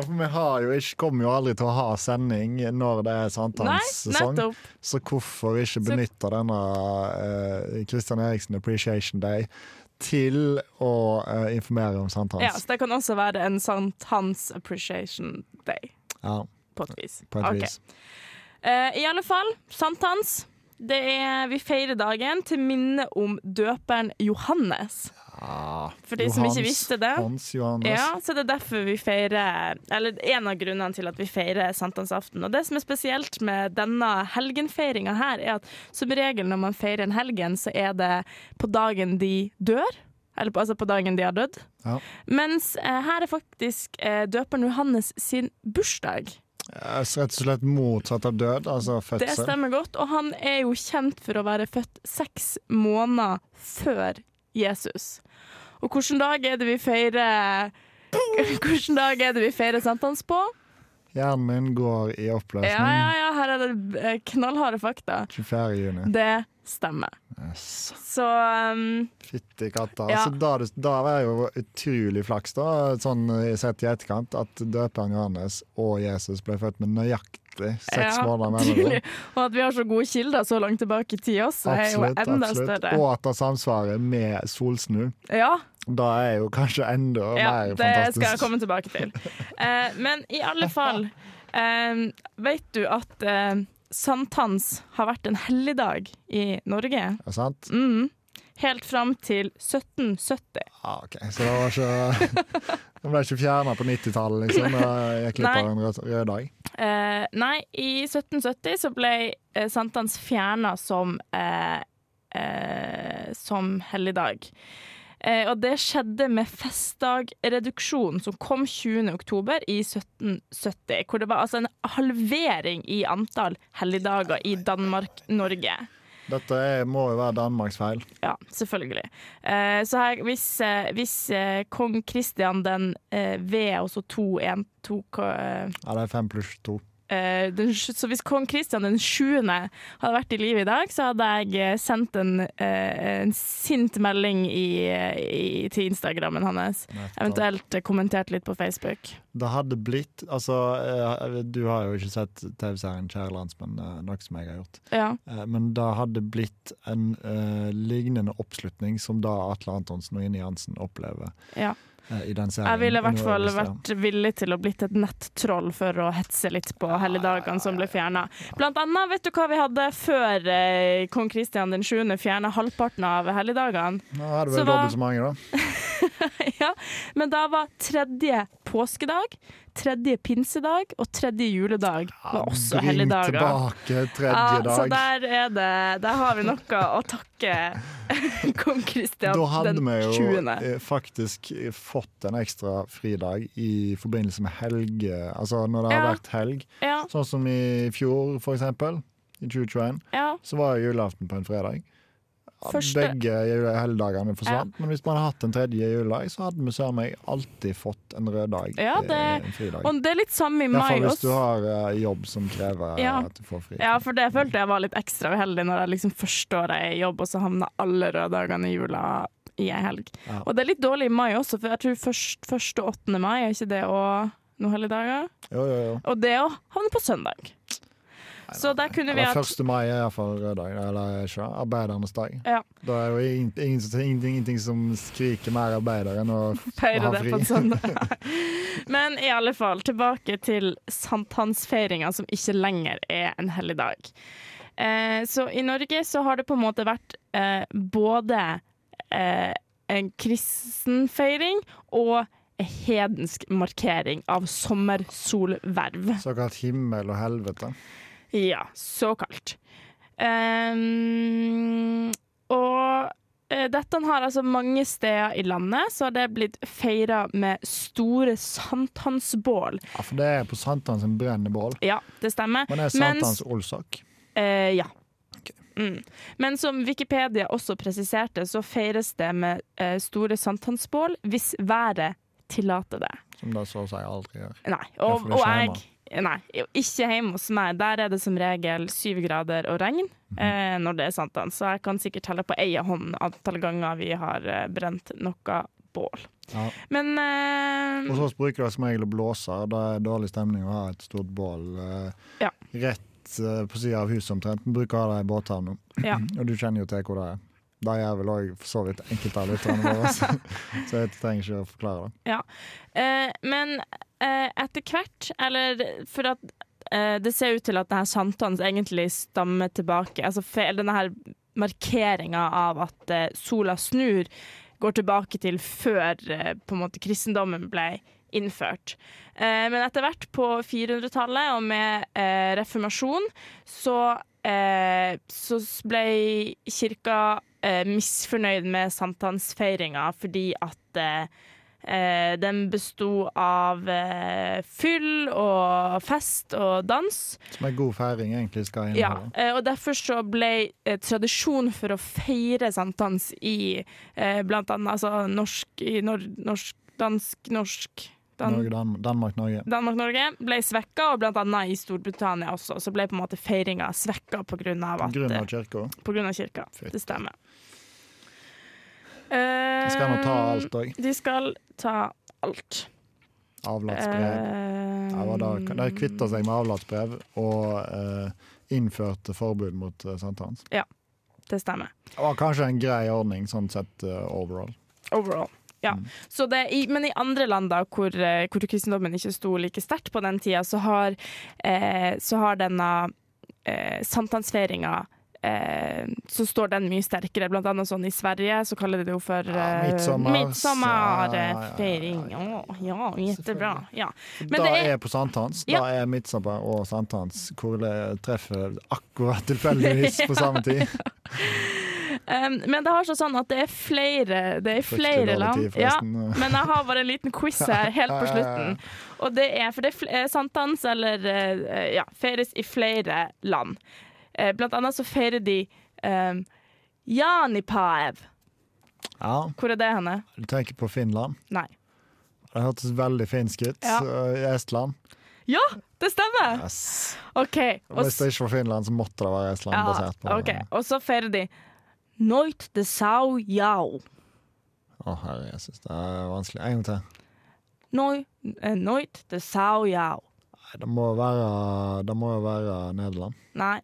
Speaker 2: For vi har jo ikke, kommer jo aldri til å ha sending når det er
Speaker 4: Nei,
Speaker 2: sankthanssesong.
Speaker 4: nettopp.
Speaker 2: Så hvorfor ikke benytte denne eh, Christian Eriksen Appreciation Day til å eh, informere om
Speaker 4: Ja,
Speaker 2: sankthans?
Speaker 4: så det kan også være en Sant Hans Appreciation Day,
Speaker 2: Ja,
Speaker 4: på et vis.
Speaker 2: på et
Speaker 4: Ok.
Speaker 2: vis.
Speaker 4: Eh, I alle fall, sankthans. Det er, vi feirer dagen til minne om døperen Johannes.
Speaker 2: Ja.
Speaker 4: For de som
Speaker 2: Ah.
Speaker 4: ikke
Speaker 2: Johans-
Speaker 4: visste det.
Speaker 2: Hans Johannes.
Speaker 4: Ja, så det er derfor vi feirer Eller en av grunnene til at vi feirer sankthansaften. Og det som er spesielt med denne helgenfeiringa her, er at som regel når man feirer en helgen, så er det på dagen de dør. Eller på, altså på dagen de har dødd.
Speaker 2: Ja.
Speaker 4: Mens eh, her er faktisk eh, døperen Johannes sin bursdag.
Speaker 2: Eh, så Rett og slett motsatt av død, altså
Speaker 4: Det
Speaker 2: fødsel.
Speaker 4: stemmer godt. Og han er jo kjent for å være født seks måneder før Jesus. Og hvilken dag er det vi feirer Hvilken dag er det vi feirer sankthans på?
Speaker 2: Hjernen min går i oppløsning.
Speaker 4: Ja, ja, Mm. ja, her er det eh, knallharde fakta.
Speaker 2: 24. juni.
Speaker 4: Det stemmer.
Speaker 2: Yes.
Speaker 4: Så um,
Speaker 2: Fytti katta.
Speaker 4: Ja.
Speaker 2: Altså, da, du- da var det jo utrolig flaks, da, sånn eh, sett i etterkant, at døperen Johannes og Jesus ble født med nøyaktig seks
Speaker 4: ja,
Speaker 2: måneder mellom.
Speaker 4: tydelig. Og at vi har så gode kilder så langt tilbake i tid også, er jo
Speaker 2: Absolutt.
Speaker 4: enda
Speaker 2: absolutt.
Speaker 4: større.
Speaker 2: Og at det samsvarer med solsnu.
Speaker 4: Ja,
Speaker 2: Da er jo kanskje enda
Speaker 4: ja,
Speaker 2: mer
Speaker 4: det
Speaker 2: fantastisk.
Speaker 4: skal jeg komme tilbake til. Eh, men i alle fall, eh, vet du at eh, sankthans har vært en helligdag i Norge?
Speaker 2: Ja, sant?
Speaker 4: Mm. Helt fram til 1770.
Speaker 2: Ja, ok. Så det var ikke Den ble ikke fjerna på 90-tallet, liksom. Da Jeg
Speaker 4: Nei.
Speaker 2: klipper en rød, rød dag.
Speaker 4: Eh, nei, i 1770 så ble eh, sankthans fjerna som, eh, eh, som helligdag. Eh, og det skjedde med festdagreduksjonen som kom 20. oktober i 1770. Hvor det var altså en halvering i antall helligdager i Danmark-Norge.
Speaker 2: Dette er, må jo være Danmarks feil.
Speaker 4: Ja, selvfølgelig. Eh, så her, hvis, eh, hvis eh, kong Kristian den eh, ved også to, en, to eh,
Speaker 2: Ja, det er fem pluss to.
Speaker 4: Eh, den, sj- så hvis kong Kristian den 7. hadde vært i live i dag, så hadde jeg eh, sendt en, eh, en sint melding i, eh, i, til Instagrammen hans. Eventuelt eh, kommentert litt på Facebook.
Speaker 2: Det hadde blitt Altså, eh, du har jo ikke sett TV-serien 'Kjære landsmenn', eh, noe som jeg har gjort.
Speaker 4: Ja.
Speaker 2: Eh, Men det hadde blitt en eh, lignende oppslutning som da Atle Antonsen og Inni Hansen opplever
Speaker 4: ja.
Speaker 2: eh, i den serien.
Speaker 4: Jeg ville i hvert fall
Speaker 2: Under øvelsen.
Speaker 4: vært villig til å blitt et nettroll for å hetse litt på helligdagene som ble fjerna. Blant annet, vet du hva vi hadde før eh, kong Kristian den 7. fjerna halvparten av helligdagene?
Speaker 2: Nå er det
Speaker 4: Så
Speaker 2: vel
Speaker 4: hva-
Speaker 2: dobbelt så mange, da.
Speaker 4: ja, men da var tredje påskedag, tredje pinsedag og tredje juledag var også
Speaker 2: Bring
Speaker 4: helligdager.
Speaker 2: tilbake
Speaker 4: Ja,
Speaker 2: tredje
Speaker 4: så
Speaker 2: dag.
Speaker 4: der er det Der har vi noe å takke kong Kristian
Speaker 2: Da hadde
Speaker 4: den
Speaker 2: vi jo
Speaker 4: 20.
Speaker 2: eh, faktisk eh, fått en ekstra fridag i forbindelse med helge, altså når det har
Speaker 4: Ja.
Speaker 2: vært helg.
Speaker 4: Ja,
Speaker 2: Sånn som i fjor, for eksempel. i 2021,
Speaker 4: Ja.
Speaker 2: så var jo julaften på en fredag. Ja,
Speaker 4: Første-
Speaker 2: Begge jule- helligdagene forsvant, men hvis man hadde hatt en tredje juledag, så hadde vi søren meg alltid fått en rød dag.
Speaker 4: Ja,
Speaker 2: til
Speaker 4: det-
Speaker 2: en fridag.
Speaker 4: Og det er litt samme i mai
Speaker 2: Iallfall hvis du
Speaker 4: også.
Speaker 2: har eh, jobb som krever eh,
Speaker 4: Ja.
Speaker 2: at du får fri.
Speaker 4: Ja, for det følte jeg var litt ekstra uheldig når jeg liksom første året er i jobb, og så havna alle røde dagene i jula i ei helg.
Speaker 2: Ja.
Speaker 4: Og det er litt dårlig i mai også, for jeg tror først, først og 8. mai er ikke det òg noen helligdager.
Speaker 2: Jo, jo, jo.
Speaker 4: Og det òg havner på søndag. Så der kunne vi
Speaker 2: Eller
Speaker 4: hatt
Speaker 2: 1. mai er iallfall rød dag, eller ikke arbeidernes dag.
Speaker 4: Ja.
Speaker 2: Da er jo ingen- ingen som- ingenting, ingenting som skriker mer arbeider enn å
Speaker 4: Peirer
Speaker 2: Ha
Speaker 4: det
Speaker 2: fri.
Speaker 4: på en søndag. Men i alle fall, tilbake til sankthansfeiringa som ikke lenger er en helligdag. Eh, så i Norge så har det på en måte vært eh, både eh, en kristenfeiring og en hedensk markering av sommersolverv.
Speaker 2: såkalt himmel og helvete.
Speaker 4: Ja, såkalt. Ehm, og eh, dette har altså mange steder i landet, så har det blitt feira med store sankthansbål.
Speaker 2: Ja, for det er på sankthans en brennende bål.
Speaker 4: Ja, det stemmer.
Speaker 2: Men det er
Speaker 4: Mens-
Speaker 2: sankthans olsak.
Speaker 4: Eh, ja. Mm. Men som Wikipedia også presiserte, så feires det med eh, store sankthansbål hvis været tillater det.
Speaker 2: Som det så å si aldri gjør.
Speaker 4: Nei,
Speaker 2: Ja,
Speaker 4: og,
Speaker 2: for det er
Speaker 4: og
Speaker 2: ikke
Speaker 4: jeg Nei, ikke hjemme hos meg. Der er det som regel syv grader og regn
Speaker 2: Mhm.
Speaker 4: eh, når det er sankthans, så jeg kan sikkert telle på ei hånd antall ganger vi har eh, brent noe bål.
Speaker 2: Ja.
Speaker 4: Men eh,
Speaker 2: Og så bruker de som regel å blåse. og Da er det dårlig stemning å ha et stort bål eh,
Speaker 4: Ja.
Speaker 2: rett eh, på sida av huset omtrent. Vi bruker å ha det i båthavna,
Speaker 4: Ja.
Speaker 2: og du kjenner jo til hvor det er. Det gjør vel òg for så vidt enkelte av lytterne våre, så så jeg trenger ikke å forklare det.
Speaker 4: Eh, men eh, etter hvert, eller for at eh, det ser ut til at denne sankthans egentlig stammer tilbake, altså fe- eller denne her markeringa av at eh, sola snur, går tilbake til før eh, på en måte kristendommen ble innført. Eh, men etter hvert på 400-tallet og med eh, reformasjon så, eh, så ble kirka eh, misfornøyd med sankthansfeiringa fordi at eh, Eh, den besto av eh, fyll og fest og dans.
Speaker 2: Som en god feiring egentlig skal
Speaker 4: Ja,
Speaker 2: inneholde.
Speaker 4: eh, og derfor så ble eh, tradisjon for å feire sankthans i eh, blant annet altså, norsk, i nor norsk, dansk, norsk dan
Speaker 2: Norge, Dan Danmark-Norge.
Speaker 4: Danmark-Norge ble svekka, og blant annet i Storbritannia også. Så ble på en måte feiringa svekka på grunn av, at, eh,
Speaker 2: Grunn av kirka.
Speaker 4: på grunn av kirka.
Speaker 2: Fett.
Speaker 4: Det stemmer.
Speaker 2: De skal nå ta
Speaker 4: Eh,
Speaker 2: alt òg.
Speaker 4: De skal ta alt.
Speaker 2: Avlatsbrev. Ja, hva da?
Speaker 4: Eh,
Speaker 2: De kvitta seg med avlatsbrev og eh, innførte forbud mot eh, sankthans.
Speaker 4: Det stemmer.
Speaker 2: Det var kanskje en grei ordning sånn sett eh, overall.
Speaker 4: Overall. Ja.
Speaker 2: Mm.
Speaker 4: Så det, i, men i andre land da, hvor, eh, hvor kristendommen ikke sto like sterkt på den tida, så har, eh, så har denne eh, sankthansfeiringa eh, så står den mye sterkere. Blant annet sånn i Sverige så kaller de det jo for
Speaker 2: Ja,
Speaker 4: eh,
Speaker 2: midtsommers.
Speaker 4: midsommerfeiring.
Speaker 2: Ja, ja,
Speaker 4: Å, ja, jettebra. Ja. Men
Speaker 2: da
Speaker 4: det
Speaker 2: er,
Speaker 4: er-
Speaker 2: på sankthans.
Speaker 4: Ja.
Speaker 2: Da er midtsommer og sankthans hvor det treffer akkurat tilfeldigvis på samme tid.
Speaker 4: Um, men det har seg sånn at det er flere, det er
Speaker 2: Fryktelig
Speaker 4: flere
Speaker 2: dårlig
Speaker 4: land.
Speaker 2: tid,
Speaker 4: Ja,
Speaker 2: forresten.
Speaker 4: Men jeg har bare en liten quiz her helt på slutten. Og det er for det er fl- eh, sankthans, eller eh, ja, feires i flere land. Eh, Blant annet så feirer de um, Janipaev.
Speaker 2: Ja,
Speaker 4: Hvor er det henne?
Speaker 2: du tenker på Finland.
Speaker 4: Nei.
Speaker 2: Det hørtes veldig finsk ut.
Speaker 4: Ja.
Speaker 2: Eh, Estland.
Speaker 4: Ja, det stemmer!
Speaker 2: Yes.
Speaker 4: OK.
Speaker 2: Og
Speaker 4: Og,
Speaker 2: Hvis det
Speaker 4: s-
Speaker 2: ikke var Finland, så måtte det være Estland.
Speaker 4: ja,
Speaker 2: basert på
Speaker 4: ok. og så feirer de Noit de Sau Yao.
Speaker 2: Å, herre Jesus, det er vanskelig. En gang til.
Speaker 4: Noi, eh, Noit de Sau Yao.
Speaker 2: Nei, Det må være, det må jo være Nederland.
Speaker 4: Nei.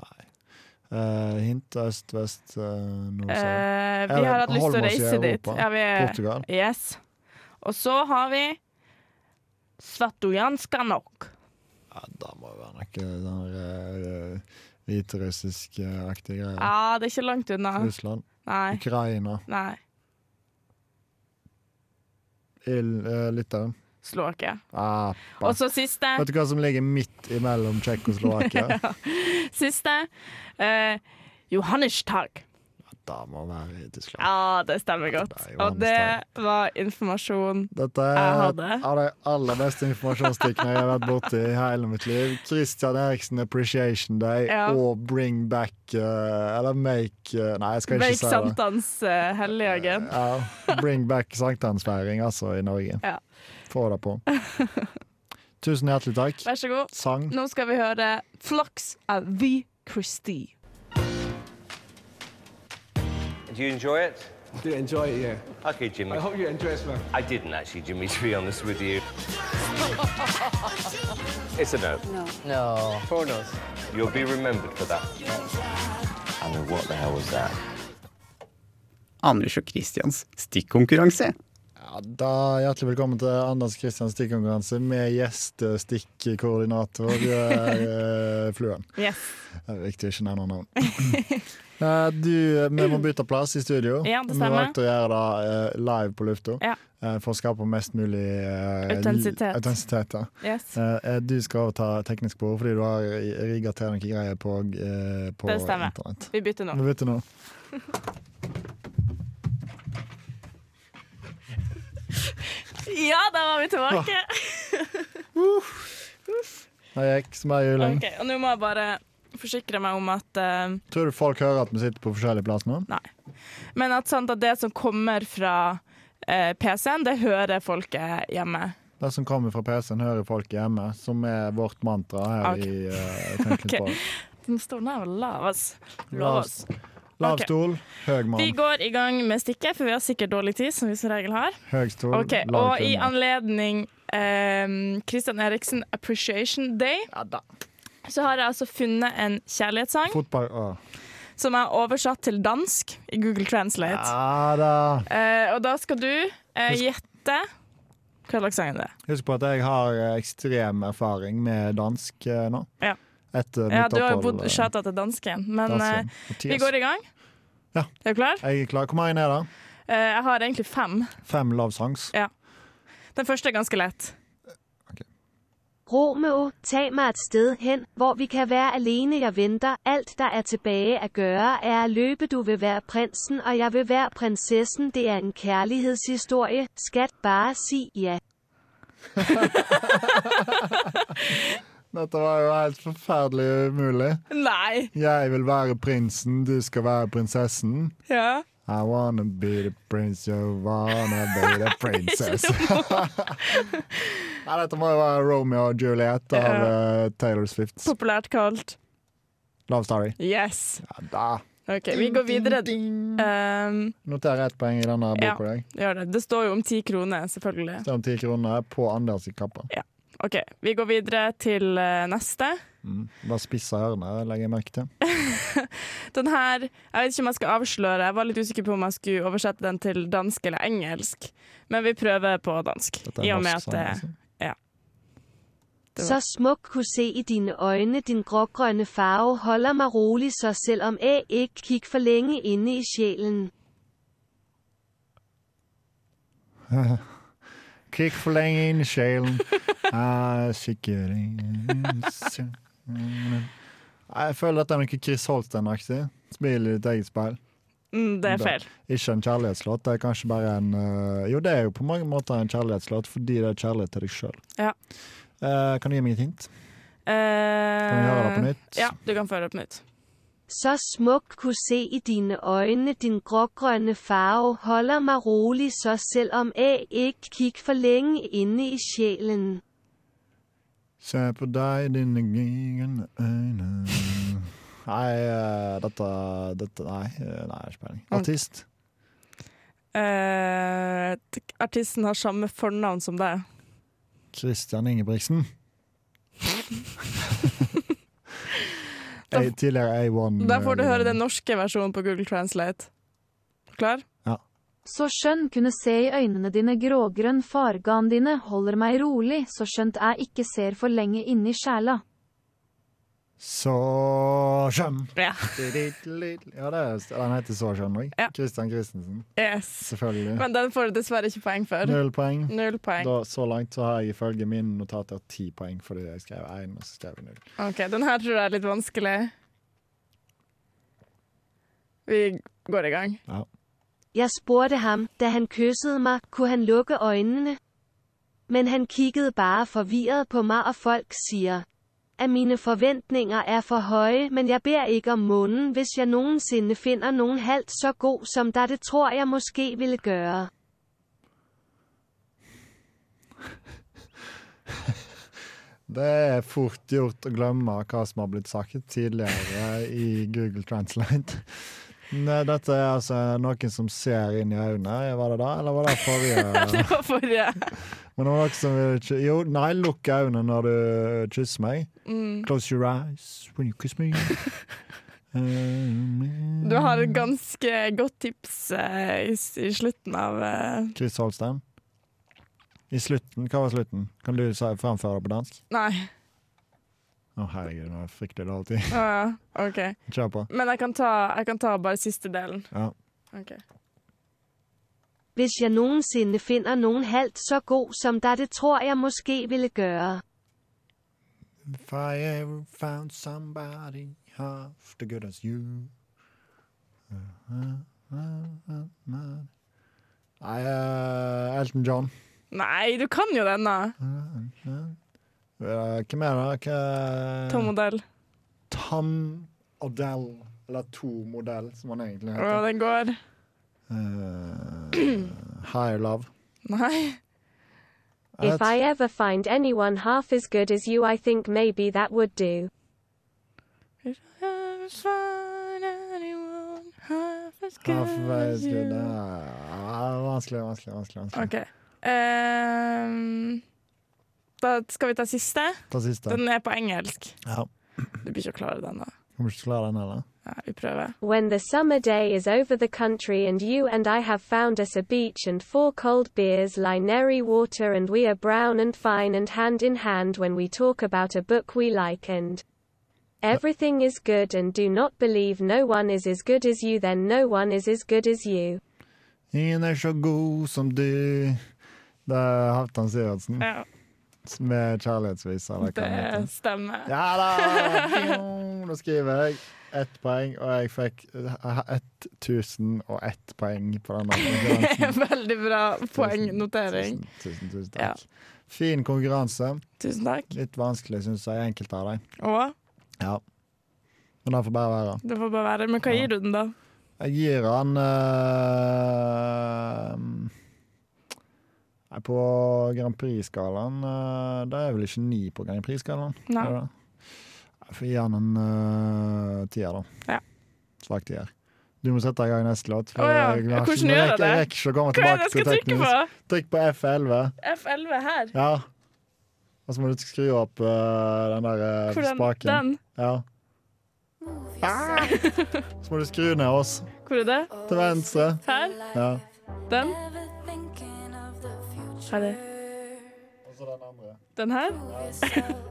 Speaker 2: Eh, hint øst, vest, eh, nord, sør.
Speaker 4: Eh, vi
Speaker 2: Eller,
Speaker 4: har hatt lyst til å
Speaker 2: holder oss i
Speaker 4: reise dit.
Speaker 2: Europa.
Speaker 4: Ja, vi er,
Speaker 2: Portugal.
Speaker 4: Yes. Og så har vi Svatojanskanok.
Speaker 2: Ja, det må jo være noe sånn eh, hviterussisk-aktig greier.
Speaker 4: Ja, det er ikke langt unna.
Speaker 2: Russland,
Speaker 4: Nei.
Speaker 2: Ukraina,
Speaker 4: Nei.
Speaker 2: Il- eh, Litauen.
Speaker 4: Slår ikke.
Speaker 2: Ah,
Speaker 4: Og så siste.
Speaker 2: vet du hva som ligger midt imellom Tsjekkoslovakia?
Speaker 4: Siste. Eh, Johannes Tag.
Speaker 2: dette må være i Tyskland.
Speaker 4: Ja, det stemmer godt.
Speaker 2: Det er
Speaker 4: Og det var informasjon
Speaker 2: Dette
Speaker 4: Jeg
Speaker 2: er
Speaker 4: hadde.
Speaker 2: av de aller beste informasjonsstikkene jeg har vært borti i hele mitt liv. Christian Eriksen Appreciation Day
Speaker 4: Ja.
Speaker 2: og Bring Back eh, Eller Make eh, Nei, jeg skal ikke
Speaker 4: Break
Speaker 2: si det.
Speaker 4: sankthans eh, helligdagen.
Speaker 2: Ja, bring Back sankthansfeiring, altså, i Norge.
Speaker 4: Ja.
Speaker 2: Få det på. Tusen hjertelig takk.
Speaker 4: Vær så god.
Speaker 2: Sang.
Speaker 4: Nå skal vi høre Flux av V. Christie.
Speaker 6: Do you enjoy it?
Speaker 7: do enjoy it, yeah.
Speaker 6: Okay, Jimmy.
Speaker 7: I hope you enjoy it, man.
Speaker 6: I didn't actually, Jimmy, to be honest with you. it's a no. No. No. Four no's. You'll be remembered for that. I mean, what the hell was that?
Speaker 5: Anders og Kristians stikkonkurranse.
Speaker 2: Ja, da Hjertelig velkommen til Anders Kristians stikkonkurranse med gjestestikkoordinator eh, Fluen.
Speaker 4: Yes.
Speaker 2: Det er viktig å ikke nevne navn. Eh, Du, vi må bytte plass i studio.
Speaker 4: Ja, det
Speaker 2: vi
Speaker 4: stemmer.
Speaker 2: valgte å gjøre det eh, live på lufta
Speaker 4: Ja.
Speaker 2: eh, for å skape mest mulig eh,
Speaker 4: Autentisitet.
Speaker 2: autentisitet, ja.
Speaker 4: yes.
Speaker 2: Eh, eh, Du skal overta teknisk spor fordi du har rigga til noen greier på, eh, på
Speaker 4: Det stemmer.
Speaker 2: internett.
Speaker 4: Vi bytter nå.
Speaker 2: Vi bytter nå.
Speaker 4: Ja, da var vi tilbake.
Speaker 2: Det gikk som ei juling.
Speaker 4: Ok, og Nå må jeg bare forsikre meg om at eh,
Speaker 2: Tror du folk hører at vi sitter på forskjellig plass nå?
Speaker 4: Men at, sant, at det som kommer fra eh, PC-en, det hører folket hjemme.
Speaker 2: Det som kommer fra PC-en, hører folk hjemme, som er vårt mantra her
Speaker 4: Ok.
Speaker 2: i eh, Tenk litt
Speaker 4: Ok.
Speaker 2: på.
Speaker 4: Den står nær og lav, ass.
Speaker 2: Lav-
Speaker 4: Lov oss.
Speaker 2: Lav
Speaker 4: Ok.
Speaker 2: stol, høy
Speaker 4: Vi
Speaker 2: mann.
Speaker 4: går i gang med stikket, for vi har sikkert dårlig tid, som vi som regel har.
Speaker 2: Høy stol,
Speaker 4: Ok,
Speaker 2: lav
Speaker 4: Og i
Speaker 2: kvinne.
Speaker 4: anledning eh, Christian Eriksen Appreciation Day, så har jeg altså funnet en kjærlighetssang
Speaker 2: Fotball å.
Speaker 4: som er oversatt til dansk i Google Translate.
Speaker 2: Ja da.
Speaker 4: Eh, og da skal du eh,
Speaker 2: Husk-
Speaker 4: gjette hva slags sang det er.
Speaker 2: Husk på at jeg har eh, ekstrem erfaring med dansk eh, nå.
Speaker 4: Ja.
Speaker 2: Etter
Speaker 4: Ja,
Speaker 2: mitt
Speaker 4: du har jo
Speaker 2: opphold,
Speaker 4: bodd
Speaker 2: eh,
Speaker 4: sjata til dansken, men
Speaker 2: dansken.
Speaker 4: eh, vi
Speaker 2: Mathias.
Speaker 4: går i gang.
Speaker 2: Ja.
Speaker 4: Er du klar?
Speaker 2: Jeg er klar. Hvor mange er det?
Speaker 4: Eh, jeg har egentlig fem.
Speaker 2: Fem love songs.
Speaker 4: Den første er ganske lett.
Speaker 8: Romeo, tag mig et sted hen, hvor vi kan være alene, jeg venter. Alt, der er tilbage at gøre, er at løbe, du vil være prinsen, og jeg vil være prinsessen. Det er en kærlighedshistorie. Skat, bare sig ja.
Speaker 2: Dette var jo helt forferdelig umulig.
Speaker 4: Nei!
Speaker 2: Jeg vil være prinsen, du skal være prinsessen.
Speaker 4: Ja.
Speaker 2: I wanna be the prince, you wanna be the princess. Nei, dette må jo være Romeo og Juliet av eh, Taylor Swift.
Speaker 4: Populært kalt
Speaker 2: Love Story.
Speaker 4: Yes.
Speaker 2: Ja, da.
Speaker 4: OK, vi går videre.
Speaker 2: Ding, ding.
Speaker 4: Um,
Speaker 2: Noterer ett poeng i denne
Speaker 4: Ja.
Speaker 2: boka. jeg.
Speaker 4: gjør det. Det står jo om ti kroner, selvfølgelig.
Speaker 2: Det er om ti kroner på Anders i kappa.
Speaker 4: OK, vi går videre til eh, neste.
Speaker 2: Mm. Bare spissa ørene, legger jeg merke til.
Speaker 4: Den her, jeg vet ikke om jeg skal avsløre, jeg var litt usikker på om jeg skulle oversette den til dansk eller engelsk, men vi prøver på dansk.
Speaker 2: Dette er
Speaker 4: I og
Speaker 2: norsk sang,
Speaker 4: med at eh, det,
Speaker 2: altså.
Speaker 4: Det
Speaker 8: Så smuk kunne se i dine øjne, din grågrønne farve holder mig rolig, så selvom jeg ikke kig for længe inde i sjælen.
Speaker 2: Kick for lenge inn i sjelen. Ah, sikkert ingen som- Jeg føler dette er noe Chris Holsten-aktig. Smil i ditt eget speil.
Speaker 4: mm, det er
Speaker 2: Da-
Speaker 4: feil.
Speaker 2: Ikke en kjærlighetslåt. Det er kanskje bare en øh, Jo, det er jo på mange måter en kjærlighetslåt fordi det er kjærlighet til deg sjøl.
Speaker 4: Ja.
Speaker 2: kan du gi meg et hint? Kan vi høre det på
Speaker 4: Eh,
Speaker 2: nytt?
Speaker 4: ja, du kan føre det på nytt.
Speaker 8: Så smuk kunne se i dine øjne, din grågrønne farve holder mig rolig, så selvom jeg ikke kig for længe inde i sjælen.
Speaker 2: Se på deg, dine gyngende øyne Nei, øh, dette, dette Nei, øh, nei, jeg har ikke
Speaker 4: Mm.
Speaker 2: peiling. Artist.
Speaker 4: Eh, t- artisten har samme fornavn som deg.
Speaker 2: Christian Ingebrigtsen. A, tidligere A1.
Speaker 4: Da får du
Speaker 2: øh,
Speaker 4: høre den norske versjonen på Google Translate. Klar?
Speaker 9: Så skjønn kunne se i øynene dine grågrønn fargan dine holder meg rolig, så skjønt jeg ikke ser for lenge inni sjela.
Speaker 2: Så skjønn.
Speaker 4: Ja.
Speaker 2: Ja, det er, den heter Så skjønn òg.
Speaker 4: Ja.
Speaker 2: Christian Christensen.
Speaker 4: Yes.
Speaker 2: Selvfølgelig.
Speaker 4: Men den får du dessverre ikke poeng for.
Speaker 2: Null poeng.
Speaker 4: Null poeng.
Speaker 2: Da, så langt så har jeg ifølge mine notater ti poeng fordi jeg skrev én, og så skrev jeg null.
Speaker 4: Ok, Den her tror jeg er litt vanskelig. Vi går i gang.
Speaker 8: Jeg spurgte ham, da han kyssede mig, kunne han lukke øjnene? Men han kiggede bare forvirret på mig, og folk siger, at mine forventninger er for høje, men jeg beder ikke om månen, hvis jeg nogensinde finder nogen halvt så god som der det tror jeg måske ville gøre.
Speaker 2: Det er fort gjort å glemme hva som har blitt sagt tidligere i Google Translate. Nei, dette er altså noen som ser inn i øynene. Var det det, eller var det forrige?
Speaker 4: Det var forrige.
Speaker 2: Men det var noen som ville ikke Jo, nei, lukk øynene når du kysser meg.
Speaker 4: Mm.
Speaker 2: Close your eyes when you kiss me. Eh, Um,
Speaker 4: Du har et ganske godt tips eh, i, s- i slutten av eh,
Speaker 2: Chris Holstein. I slutten, hva var slutten? Kan du si- framføre det på dansk?
Speaker 4: Nei.
Speaker 2: Å herregud, nå fikk du det alltid.
Speaker 4: Å ja, OK.
Speaker 2: Kjør på.
Speaker 4: Men jeg kan ta, jeg kan ta bare siste delen.
Speaker 2: Ja.
Speaker 4: Ok.
Speaker 8: Hvis jeg nogensinde finder nogen halvt så god som der det tror jeg måske ville gøre.
Speaker 2: If I ever found somebody half the good as you Nei, eh, Elton John.
Speaker 4: Nei, du kan jo denne!
Speaker 2: Eh, Hvem er det? Hva-
Speaker 4: Tom Modell.
Speaker 2: Tom Odell. Eller To Modell, som han egentlig
Speaker 4: Og
Speaker 2: heter.
Speaker 4: den går.
Speaker 2: Eh, Higher Love.
Speaker 4: Nei.
Speaker 2: Jeg vet-
Speaker 8: ever find anyone half as good as you I think maybe that would do.
Speaker 2: Ja, for meg skulle det ja, Vanskelig, vanskelig, vanskelig. vanskelig.
Speaker 4: OK. Ehm, da skal vi ta siste.
Speaker 2: Ta siste.
Speaker 4: Den er på engelsk.
Speaker 2: Ja.
Speaker 4: Du blir ikke å klare den, da.
Speaker 2: Kommer ikke til å klare den heller.
Speaker 4: Ja, vi prøver.
Speaker 8: When the summer day is over the country and you and I have found us a beach and four cold beers lie nary water and we are brown and fine and hand in hand when we talk about a book we like and everything is good and do not believe no one is as good as you then no one is as good as you.
Speaker 2: Ingen er så god som du Det er Halvdan Sivertsen
Speaker 4: Ja,
Speaker 2: med kjærlighetsvisa. eller hva den
Speaker 4: det
Speaker 2: heter.
Speaker 4: stemmer.
Speaker 2: Ja da! Pjong! Da skriver jeg ett poeng, og jeg fikk eh, 1001 poeng på den. konkurransen.
Speaker 4: Veldig bra poengnotering.
Speaker 2: Tusen, tusen, tusen
Speaker 4: Ja.
Speaker 2: takk. Fin konkurranse.
Speaker 4: Tusen takk.
Speaker 2: Litt vanskelig, syns jeg, enkelte av dem.
Speaker 4: Og
Speaker 2: Ja. Men det får bare være.
Speaker 4: det får bare være. Men hva gir du den, da?
Speaker 2: Jeg gir han eh, Nei, På Grand Prix-skalaen eh, Det er vel ikke ni på Grand Prix-skalaen?
Speaker 4: Nei.
Speaker 2: er det det? Jeg får gi han en eh, tier, da.
Speaker 4: Ja.
Speaker 2: Svak tier. Du må sette i gang neste låt.
Speaker 4: Å ja,
Speaker 2: jeg har ikke-
Speaker 4: hvordan gjør
Speaker 2: rekker-
Speaker 4: jeg
Speaker 2: Jeg
Speaker 4: det?
Speaker 2: rekker ikke å komme
Speaker 4: Hva er det
Speaker 2: tilbake
Speaker 4: jeg
Speaker 2: til
Speaker 4: skal trykke
Speaker 2: teknisk.
Speaker 4: på?
Speaker 2: Trykk på F11.
Speaker 4: F11 her?
Speaker 2: Ja. Og så må du skru opp eh, den der eh,
Speaker 4: Hvordan
Speaker 2: spaken.
Speaker 4: den?
Speaker 2: Ja. Ah! Så må du skru ned oss
Speaker 4: Hvor er det?
Speaker 2: til venstre.
Speaker 4: Her?
Speaker 2: Ja.
Speaker 4: Den? Her er den her?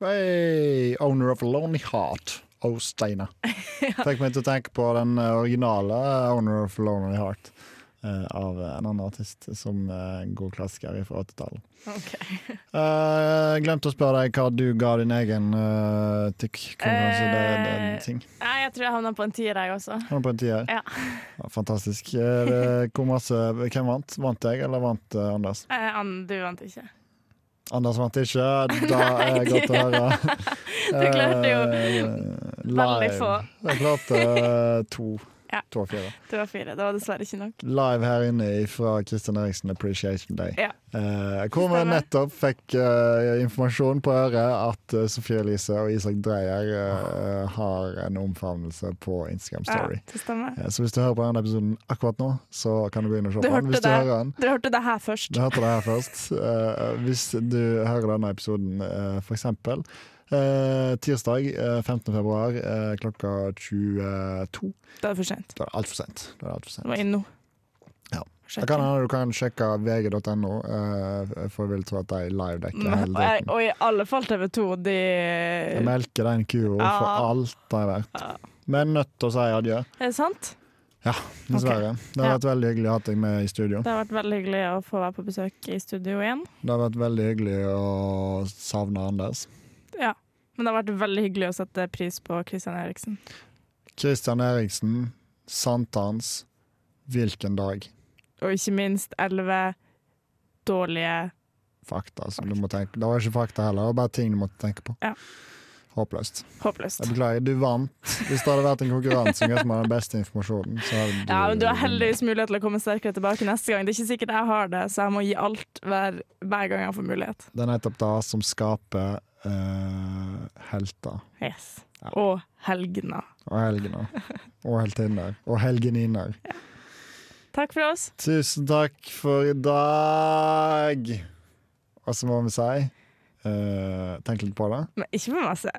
Speaker 2: Hey, owner of a lonely heart, O. Steiner. Fikk meg til å tenke på den eh, originale Owner of a lonely heart eh, av eh, en annen artist som eh, en god klassiker fra 80-tallet.
Speaker 4: OK.
Speaker 2: Eh, glemte å spørre deg hva du ga din egen uh, tikk-konkurranse. Det, det er en ting.
Speaker 4: Nei, jeg tror jeg havna på en tier, jeg også.
Speaker 2: Har du på en tier?
Speaker 4: Eh, Ja.
Speaker 2: Ja, fantastisk. Eh, det- hvor masse, hvem vant? Vant jeg, eller vant eh, Anders?
Speaker 4: Eh, Ann, du vant ikke.
Speaker 2: Anders vant ikke. Da er det godt å høre.
Speaker 4: Du klarte jo
Speaker 2: Eh,
Speaker 4: veldig
Speaker 2: live.
Speaker 4: få.
Speaker 2: Jeg klarte eh, to.
Speaker 4: Ja.
Speaker 2: To av fire.
Speaker 4: Det var fire. Det var dessverre ikke nok.
Speaker 2: Live her inne fra Kristian Eriksen Appreciation Day.
Speaker 4: Ja.
Speaker 2: Eh, hvor vi
Speaker 4: Stemmer.
Speaker 2: nettopp fikk eh, informasjon på øret at eh, Sofie Elise og Isak Dreyer eh, har en omfavnelse på Instagram
Speaker 4: Ja,
Speaker 2: Story.
Speaker 4: det stemmer.
Speaker 2: Eh, Så hvis du hører på denne episoden akkurat nå, så kan du gå inn og se
Speaker 4: Du
Speaker 2: på den.
Speaker 4: hørte
Speaker 2: Hvis du
Speaker 4: det.
Speaker 2: hører den,
Speaker 4: Du hørte det her først.
Speaker 2: du hørte det her først. Eh, hvis du hører denne episoden eh, for eksempel eh, tirsdag eh, 15. februar eh, klokka 22,
Speaker 4: Da er det for sent.
Speaker 2: da er det altfor sent. Da er det alt for
Speaker 4: Du må
Speaker 2: sent.
Speaker 4: inn nå.
Speaker 2: Ja.
Speaker 4: Sjekk
Speaker 2: Da kan
Speaker 4: inn.
Speaker 2: hende du kan sjekke vg.no, eh, for jeg vil tro at de livedekker
Speaker 4: Mm. Nei,
Speaker 2: hele
Speaker 4: Og, jeg,
Speaker 2: dritten.
Speaker 4: og i alle fall TV 2, de
Speaker 2: Jeg melker den kua for
Speaker 4: Ja.
Speaker 2: alt det er verdt.
Speaker 4: Ja.
Speaker 2: Vi er nødt til å si adjø,
Speaker 4: Er det sant?
Speaker 2: dessverre. Det har
Speaker 4: Ja.
Speaker 2: vært veldig hyggelig å ha deg med i studio.
Speaker 4: Det har vært veldig hyggelig å få være på besøk i studio igjen.
Speaker 2: Det har vært veldig hyggelig å savne Anders.
Speaker 4: Ja. Men det har vært veldig hyggelig å sette pris på Christian Eriksen.
Speaker 2: Kristian Eriksen, sankthans, hvilken dag?
Speaker 4: Og ikke minst elleve dårlige
Speaker 2: Fakta som du må tenke Det var ikke fakta heller, det var bare ting du måtte tenke på.
Speaker 4: Ja.
Speaker 2: Håpløst.
Speaker 4: Håpløst.
Speaker 2: Jeg beklager, du vant. Hvis det hadde vært en konkurranse om hvem som har den beste informasjonen, så hadde du
Speaker 4: Ja, men du har heldigvis mulighet til å komme sterkere tilbake neste gang. Det er ikke sikkert jeg har det, så jeg må gi alt hver, hver gang jeg får mulighet.
Speaker 2: Det er nettopp det som skaper eh, helter.
Speaker 4: Yes. Og helgener.
Speaker 2: Og helgener. Og heltinner. Og helgeniner.
Speaker 4: Takk for oss.
Speaker 2: Tusen takk for i dag! Og så må vi si eh, Tenk litt på det.
Speaker 4: Men ikke for masse.